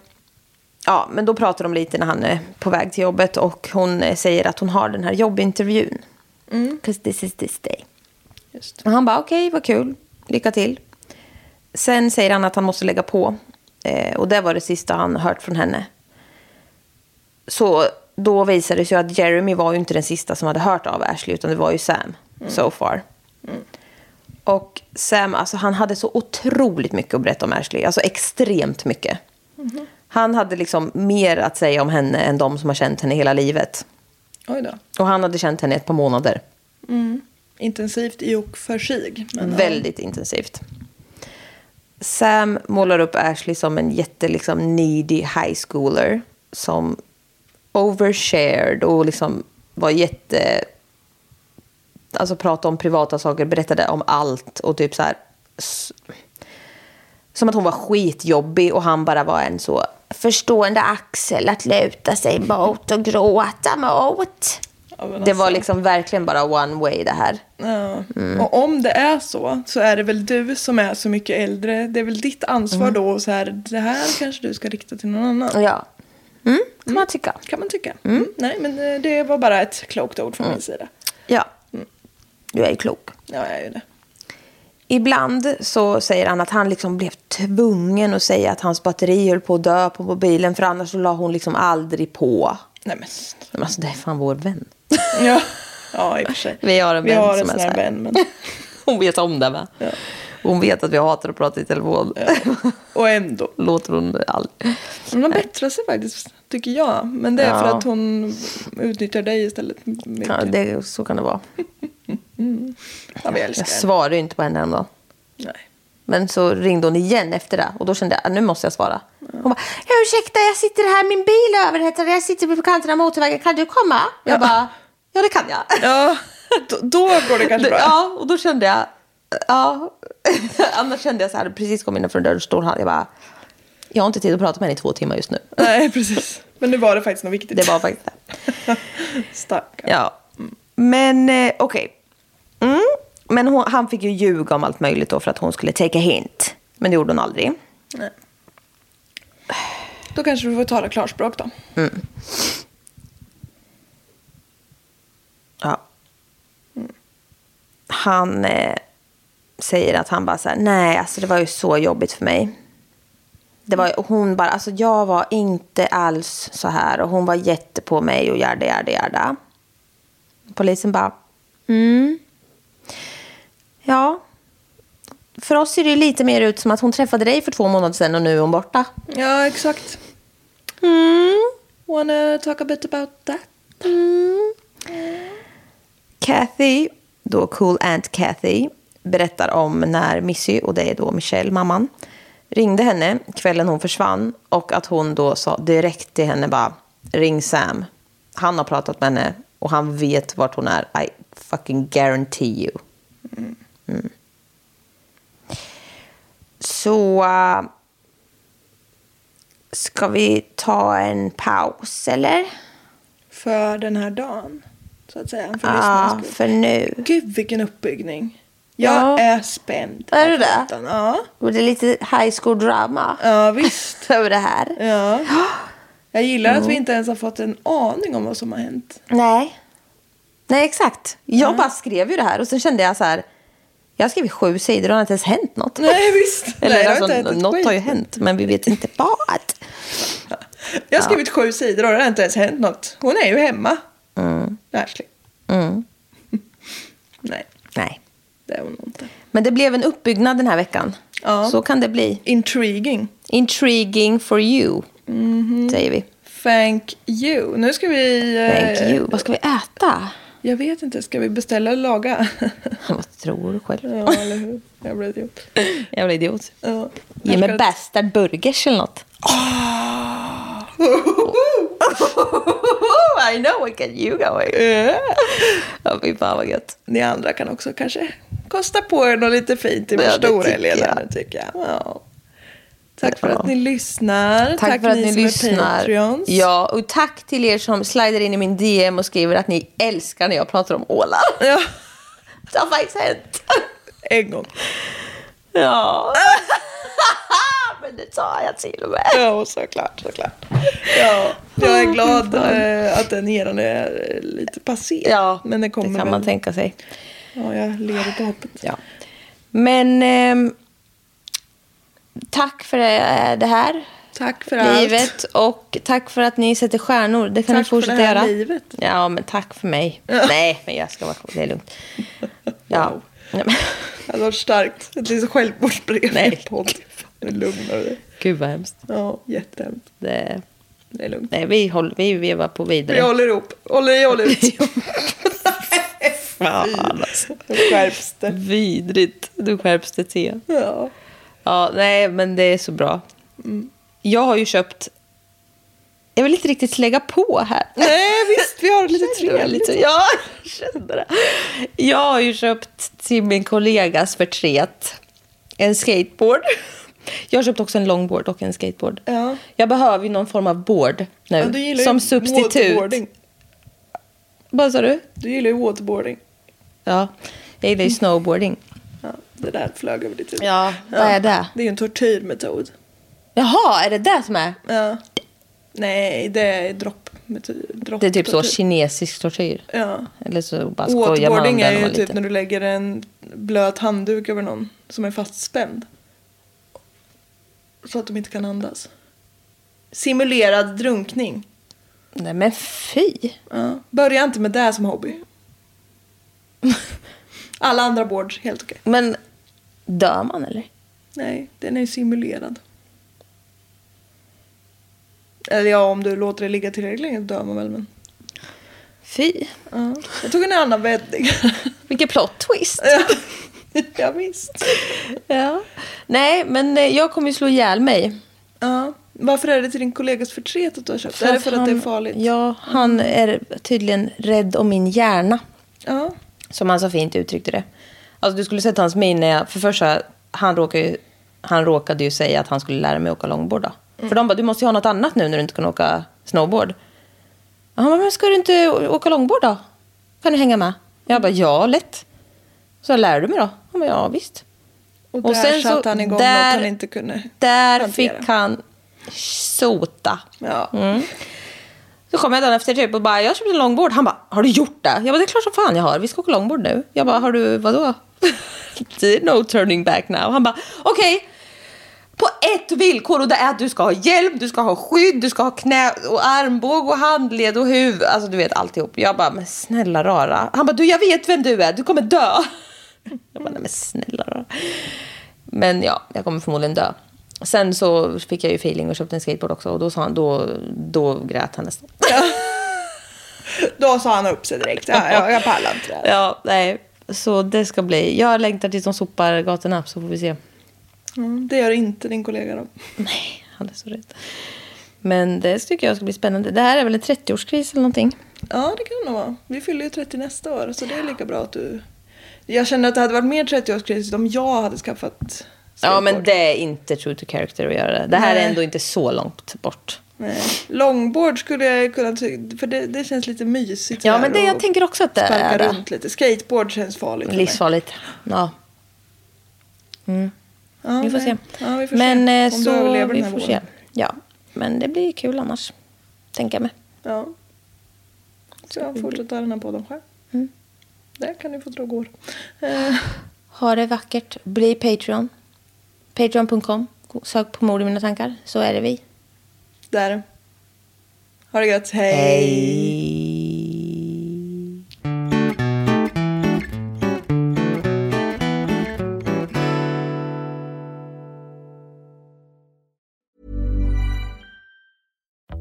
[SPEAKER 1] ja, men då pratar de lite när han är på väg till jobbet och hon eh, säger att hon har den här jobbintervjun. Mm. Cause this is this day.
[SPEAKER 2] Just.
[SPEAKER 1] Och han bara okej, vad kul, lycka till. Sen säger han att han måste lägga på. Eh, och det var det sista han hört från henne. Så då visade det sig att Jeremy var ju inte den sista som hade hört av Ashley utan det var ju Sam so far. Och Sam, alltså han hade så otroligt mycket att berätta om Ashley. Alltså extremt mycket. Han hade liksom mer att säga om henne än de som har känt henne hela livet.
[SPEAKER 2] Oj då.
[SPEAKER 1] Och han hade känt henne i ett par månader.
[SPEAKER 2] Intensivt i och för sig. Men, ja.
[SPEAKER 1] Väldigt intensivt. Sam målar upp Ashley som en jätte liksom, needy high schooler. Som overshared och liksom var jätte... Alltså pratade om privata saker, berättade om allt och typ så här... s- Som att hon var skitjobbig och han bara var en så förstående axel att luta sig mot och gråta mot.
[SPEAKER 2] Ja, men
[SPEAKER 1] Det var
[SPEAKER 2] alltså.
[SPEAKER 1] liksom verkligen bara one way det här.
[SPEAKER 2] Ja.
[SPEAKER 1] Mm.
[SPEAKER 2] Och om det är så, så är det väl du som är så mycket äldre. Det är väl ditt ansvar då. Och så här, det här kanske du ska rikta till någon annan.
[SPEAKER 1] Mm. Ja. Mm, kan man tycka.
[SPEAKER 2] Kan man tycka. Mm. Nej, men eh, det var bara ett klokt ord
[SPEAKER 1] Mm.
[SPEAKER 2] från min sida.
[SPEAKER 1] Ja. Mm. Du är ju klok.
[SPEAKER 2] Ja, jag är ju det.
[SPEAKER 1] Ibland så säger han att han liksom blev tvungen att säga att hans batteri höll på att dö på mobilen för annars så la hon liksom aldrig på.
[SPEAKER 2] Nej, men snälla.
[SPEAKER 1] Men alltså det är fan vår vän.
[SPEAKER 2] Ja, ja i och för sig.
[SPEAKER 1] (laughs) Vi har en
[SPEAKER 2] Vi
[SPEAKER 1] vän
[SPEAKER 2] har en
[SPEAKER 1] som är
[SPEAKER 2] sån
[SPEAKER 1] så
[SPEAKER 2] här
[SPEAKER 1] här.
[SPEAKER 2] vän. Men,
[SPEAKER 1] (laughs) Hon vet om det va?
[SPEAKER 2] Ja.
[SPEAKER 1] Hon vet att vi hatar att prata i telefon.
[SPEAKER 2] och ändå.
[SPEAKER 1] (laughs) Låter hon aldrig.
[SPEAKER 2] Hon har bättrat sig faktiskt, tycker jag. Men det är för
[SPEAKER 1] Ja.
[SPEAKER 2] att hon utnyttjar dig istället. Mycket.
[SPEAKER 1] Ja, det, så kan det vara.
[SPEAKER 2] Ja, vi älskar
[SPEAKER 1] Jag
[SPEAKER 2] henne.
[SPEAKER 1] svarar ju inte på henne häromdagen.
[SPEAKER 2] Nej.
[SPEAKER 1] Men så ringde hon igen efter det och då kände jag att nu måste jag svara. Hon bara, "Ja, ursäkta jag sitter här, min bil är överhettad, jag sitter på kanten av motorvägen, kan du komma? Jag bara, ja det kan jag.
[SPEAKER 2] Ja, (laughs) då, då går det kanske bra.
[SPEAKER 1] Ja, och då kände jag, ja. (laughs) Annars kände jag så här, precis kom innanför dörren, står han, jag bara, jag har inte tid att prata med henne i två timmar just nu. (laughs)
[SPEAKER 2] Nej, precis. Men nu var det faktiskt något viktigt.
[SPEAKER 1] Det var faktiskt det.
[SPEAKER 2] Stackarn.
[SPEAKER 1] Ja. Men eh, okej. Mm. Men hon, han fick ju ljuga om allt möjligt då för att hon skulle take a hint. Men det gjorde hon aldrig.
[SPEAKER 2] Då kanske du får tala klarspråk då.
[SPEAKER 1] Ja. Han eh, säger att han bara så här, nej alltså det var ju så jobbigt för mig. Det var, och hon bara, alltså jag var inte alls så här och hon var jätte på mig och järda, järda, järda. Polisen bara, mm. Ja. För oss ser det ju lite mer ut som att hon träffade dig för två månader sedan och nu är hon borta.
[SPEAKER 2] Ja, exakt.
[SPEAKER 1] Mm.
[SPEAKER 2] Wanna talk a bit about that?
[SPEAKER 1] Kathy, då cool aunt Kathy, berättar om när Missy, och det är då Michelle, mamman, ringde henne kvällen hon försvann och att hon då sa direkt till henne bara ring Sam. Han har pratat med henne och han vet vart hon är. I fucking guarantee you. Mm. Så äh, ska vi ta en paus eller?
[SPEAKER 2] För den här dagen, så att säga. För
[SPEAKER 1] Ja,
[SPEAKER 2] lyssnarnas skull.
[SPEAKER 1] för nu.
[SPEAKER 2] Gud, vilken uppbyggning. Jag
[SPEAKER 1] Ja.
[SPEAKER 2] är spänd.
[SPEAKER 1] Är du
[SPEAKER 2] på
[SPEAKER 1] det?
[SPEAKER 2] plattan. Ja.
[SPEAKER 1] Och det är lite high school drama
[SPEAKER 2] ja, visst.
[SPEAKER 1] över det här.
[SPEAKER 2] Ja.
[SPEAKER 1] (gasps)
[SPEAKER 2] Jag gillar att vi inte ens har fått en aning om vad som har hänt.
[SPEAKER 1] Nej. Nej, exakt. Jag bara skrev ju det här och sen kände jag så här. Jag skrev sju sidor och det har inte ens hänt något.
[SPEAKER 2] Nej, visst.
[SPEAKER 1] Eller
[SPEAKER 2] Nej, det har
[SPEAKER 1] alltså,
[SPEAKER 2] inte hänt ett
[SPEAKER 1] något har ju
[SPEAKER 2] skit.
[SPEAKER 1] hänt, men vi vet inte vad.
[SPEAKER 2] Jag har skrivit sju sidor och det har inte ens hänt något. Hon är ju hemma. Mm. Ashley.
[SPEAKER 1] Mm.
[SPEAKER 2] (laughs) Nej,
[SPEAKER 1] Nej.
[SPEAKER 2] det är hon inte.
[SPEAKER 1] Men det blev en uppbyggnad den här veckan.
[SPEAKER 2] Ja.
[SPEAKER 1] Så kan det bli.
[SPEAKER 2] Intriguing.
[SPEAKER 1] Intriguing for you,
[SPEAKER 2] Mhm.
[SPEAKER 1] säger vi.
[SPEAKER 2] Thank you. Nu ska vi... eh,
[SPEAKER 1] Thank you. Vad ska vi äta? (laughs)
[SPEAKER 2] Jag vet inte, ska vi beställa eller laga? (laughs)
[SPEAKER 1] Vad tror du själv?
[SPEAKER 2] ja, eller hur? Jag blir idiot.
[SPEAKER 1] (laughs) Jävla idiot.
[SPEAKER 2] Ja.
[SPEAKER 1] Ge mig bastard burgers eller något.
[SPEAKER 2] Ah. (laughs)
[SPEAKER 1] I know what get you going. Ja, fy fan vad gött.
[SPEAKER 2] Ni andra kan också kanske kosta på er något lite fint i
[SPEAKER 1] Ja, det
[SPEAKER 2] första
[SPEAKER 1] tycker
[SPEAKER 2] orelledaren
[SPEAKER 1] jag.
[SPEAKER 2] tycker jag. Ja. Tack för att ni lyssnar.
[SPEAKER 1] Tack, för att ni,
[SPEAKER 2] som är
[SPEAKER 1] lyssnar.
[SPEAKER 2] Patreons.
[SPEAKER 1] Ja, och tack till er som slider in i min DM och skriver att ni älskar när jag pratar om ålar.
[SPEAKER 2] ja.
[SPEAKER 1] Det har faktiskt hänt.
[SPEAKER 2] En gång. Ah.
[SPEAKER 1] Ja. (laughs) Men det sa jag till och med.
[SPEAKER 2] Ja, såklart, såklart. Ja, jag är glad eh, att den eran är eh, lite passé.
[SPEAKER 1] Ja,
[SPEAKER 2] men den kommer
[SPEAKER 1] det kan
[SPEAKER 2] väl.
[SPEAKER 1] man tänka sig.
[SPEAKER 2] Ja, jag lever på hoppet.
[SPEAKER 1] Ja. Men ehm, tack för eh, det här
[SPEAKER 2] Tack för allt.
[SPEAKER 1] livet och tack för att ni sätter stjärnor. Det kan
[SPEAKER 2] Tack
[SPEAKER 1] ni fortsätta
[SPEAKER 2] för det här
[SPEAKER 1] göra.
[SPEAKER 2] livet.
[SPEAKER 1] Ja, men tack för mig. Nej, men jag ska vara cool. Det är lugnt. Ja. Nej, men- (laughs)
[SPEAKER 2] Det hade varit starkt. Ett litet självmordsbrev.
[SPEAKER 1] Nej.
[SPEAKER 2] i en podd. Nu lugnar du dig.
[SPEAKER 1] Gud vad hemskt.
[SPEAKER 2] Ja, jättehemskt.
[SPEAKER 1] Det...
[SPEAKER 2] Det är lugnt.
[SPEAKER 1] Nej, vi, håller, vi vevar på vidare.
[SPEAKER 2] Vi håller ihop. Håller jag
[SPEAKER 1] (laughs)
[SPEAKER 2] håller ut.
[SPEAKER 1] Fan, alltså.
[SPEAKER 2] Nu skärps det.
[SPEAKER 1] Vidrigt. Du skärps det till.
[SPEAKER 2] Ja.
[SPEAKER 1] Ja, nej, men det är så bra.
[SPEAKER 2] Mm.
[SPEAKER 1] Jag har ju köpt... Jag vill inte riktigt lägga på här.
[SPEAKER 2] Nej, visst. Vi
[SPEAKER 1] (laughs)
[SPEAKER 2] har det lite
[SPEAKER 1] Kände jag
[SPEAKER 2] trevligt.
[SPEAKER 1] lite- Ja, jag kände det. Jag har ju köpt till min kollegas förtret en skateboard. Jag har köpt också en longboard och en skateboard.
[SPEAKER 2] Ja.
[SPEAKER 1] Jag behöver ju någon form av board nu.
[SPEAKER 2] Ja, du gillar
[SPEAKER 1] som
[SPEAKER 2] ju
[SPEAKER 1] substitut.
[SPEAKER 2] Waterboarding.
[SPEAKER 1] Vad sa du?
[SPEAKER 2] Du gillar ju waterboarding.
[SPEAKER 1] Ja, jag gillar ju
[SPEAKER 2] Mm.
[SPEAKER 1] snowboarding.
[SPEAKER 2] Ja, det där flög över ditt huvud.
[SPEAKER 1] Ja, vad är det?
[SPEAKER 2] Det är ju en tortyrmetod.
[SPEAKER 1] Jaha, är det det som är?
[SPEAKER 2] Ja. Nej, det är dropp. meto- dropp
[SPEAKER 1] Det är typ så
[SPEAKER 2] tortyr.
[SPEAKER 1] kinesisk tortyr.
[SPEAKER 2] Ja.
[SPEAKER 1] Eller så bara skojar man om
[SPEAKER 2] Waterboarding är
[SPEAKER 1] den
[SPEAKER 2] ju
[SPEAKER 1] och
[SPEAKER 2] typ när
[SPEAKER 1] lite.
[SPEAKER 2] du lägger en blöt handduk över någon som är fastspänd. Så att de inte kan andas. Simulerad drunkning.
[SPEAKER 1] Nej men fy!
[SPEAKER 2] Ja. Börja inte med det
[SPEAKER 1] (laughs)
[SPEAKER 2] som hobby. Alla andra boards, helt okej.
[SPEAKER 1] Men dör man eller?
[SPEAKER 2] Nej, den är ju simulerad. Eller ja, om du låter det ligga tillräckligt länge dör man väl. Men...
[SPEAKER 1] Fy!
[SPEAKER 2] Ja. Jag tog en annan vändning. (laughs)
[SPEAKER 1] Vilken plot twist!
[SPEAKER 2] ja, visst.
[SPEAKER 1] Ja. Nej, men eh, jag kommer ju slå ihjäl mig.
[SPEAKER 2] Ja. Varför är det till din kollegas förtret att du har köpt? är det för att det är
[SPEAKER 1] han-
[SPEAKER 2] farligt? Mm.
[SPEAKER 1] Ja, han är tydligen rädd om min hjärna.
[SPEAKER 2] Ja.
[SPEAKER 1] Som han så fint uttryckte det. Alltså du skulle sett hans min när jag, för först så här, han råkade ju, han råkade ju säga att han skulle lära mig åka långbord då. För de bara, du måste ju ha något annat nu när du inte kan åka snowboard. Och Han bara, men ska du inte å- åka långbord då? Kan du hänga med? Jag bara, ja lätt. Så lär du mig då? Han bara, ja visst.
[SPEAKER 2] Och,
[SPEAKER 1] Och
[SPEAKER 2] där
[SPEAKER 1] sen så-
[SPEAKER 2] satte han igång
[SPEAKER 1] där-
[SPEAKER 2] något han inte kunde
[SPEAKER 1] Där
[SPEAKER 2] hantera.
[SPEAKER 1] fick han sota.
[SPEAKER 2] Ja.
[SPEAKER 1] Så kom jag dagen efter typ och bara, jag köpte en långbord. Han bara, har du gjort det? Jag bara, det är klart som fan jag har. Vi ska åka långbord nu. Jag bara, har du vadå? (laughs) det är no turning back now. Han bara, okej. På ett villkor och det är att du ska ha hjälm, du ska ha skydd, du ska ha knä och armbåg och handled och huvud. Alltså du vet alltihop. Jag bara, men snälla rara. Han bara, du jag vet vem du är, du kommer dö. (laughs) Jag bara, nej men snälla rara. Men ja, jag kommer förmodligen dö. Sen så fick jag ju feeling och köpte en skateboard också och då sa han, då, då grät han nästan.
[SPEAKER 2] Då sa han upp sig direkt. Ja, jag, jag pallar inte det.
[SPEAKER 1] Ja, nej. Så det ska bli. Jag längtar tills de sopar gatorna så får vi se.
[SPEAKER 2] Mm, det gör inte din kollega då.
[SPEAKER 1] Nej, han är så rädd. Men det tycker jag ska bli spännande. Det här är väl en 30-årskris eller någonting?
[SPEAKER 2] Ja, det kan det nog vara. Vi fyller ju 30 nästa år, så det är lika bra att du... Jag kände att det hade varit mer 30-årskris om jag hade skaffat
[SPEAKER 1] Ja, men
[SPEAKER 2] skateboard.
[SPEAKER 1] det är inte true to character att göra det. Det här är
[SPEAKER 2] Nej.
[SPEAKER 1] ändå inte så långt bort.
[SPEAKER 2] Nej. Longboard skulle jag kunna tycka, för det, det känns lite mysigt.
[SPEAKER 1] Ja,
[SPEAKER 2] där
[SPEAKER 1] men det, jag
[SPEAKER 2] och
[SPEAKER 1] tänker också att det är
[SPEAKER 2] Sparka
[SPEAKER 1] det.
[SPEAKER 2] runt lite. Skateboard känns farligt för mig.
[SPEAKER 1] Livsfarligt. Ja.
[SPEAKER 2] Ja,
[SPEAKER 1] vi får
[SPEAKER 2] nej.
[SPEAKER 1] se.
[SPEAKER 2] Ja, vi får
[SPEAKER 1] men eh,
[SPEAKER 2] se. Om du
[SPEAKER 1] så
[SPEAKER 2] överlever
[SPEAKER 1] vi
[SPEAKER 2] den här
[SPEAKER 1] får se.
[SPEAKER 2] våren.
[SPEAKER 1] Ja, men det blir kul annars. Tänker jag med.
[SPEAKER 2] Ja. Så jag fortsätter den här podden själv.
[SPEAKER 1] Mm.
[SPEAKER 2] Där kan ni få tro går. Eh,
[SPEAKER 1] Ha det vackert. Bli Patreon. Patreon.com. Sök på mord i mina tankar. Så är det vi.
[SPEAKER 2] där. Ha det gött. Hej.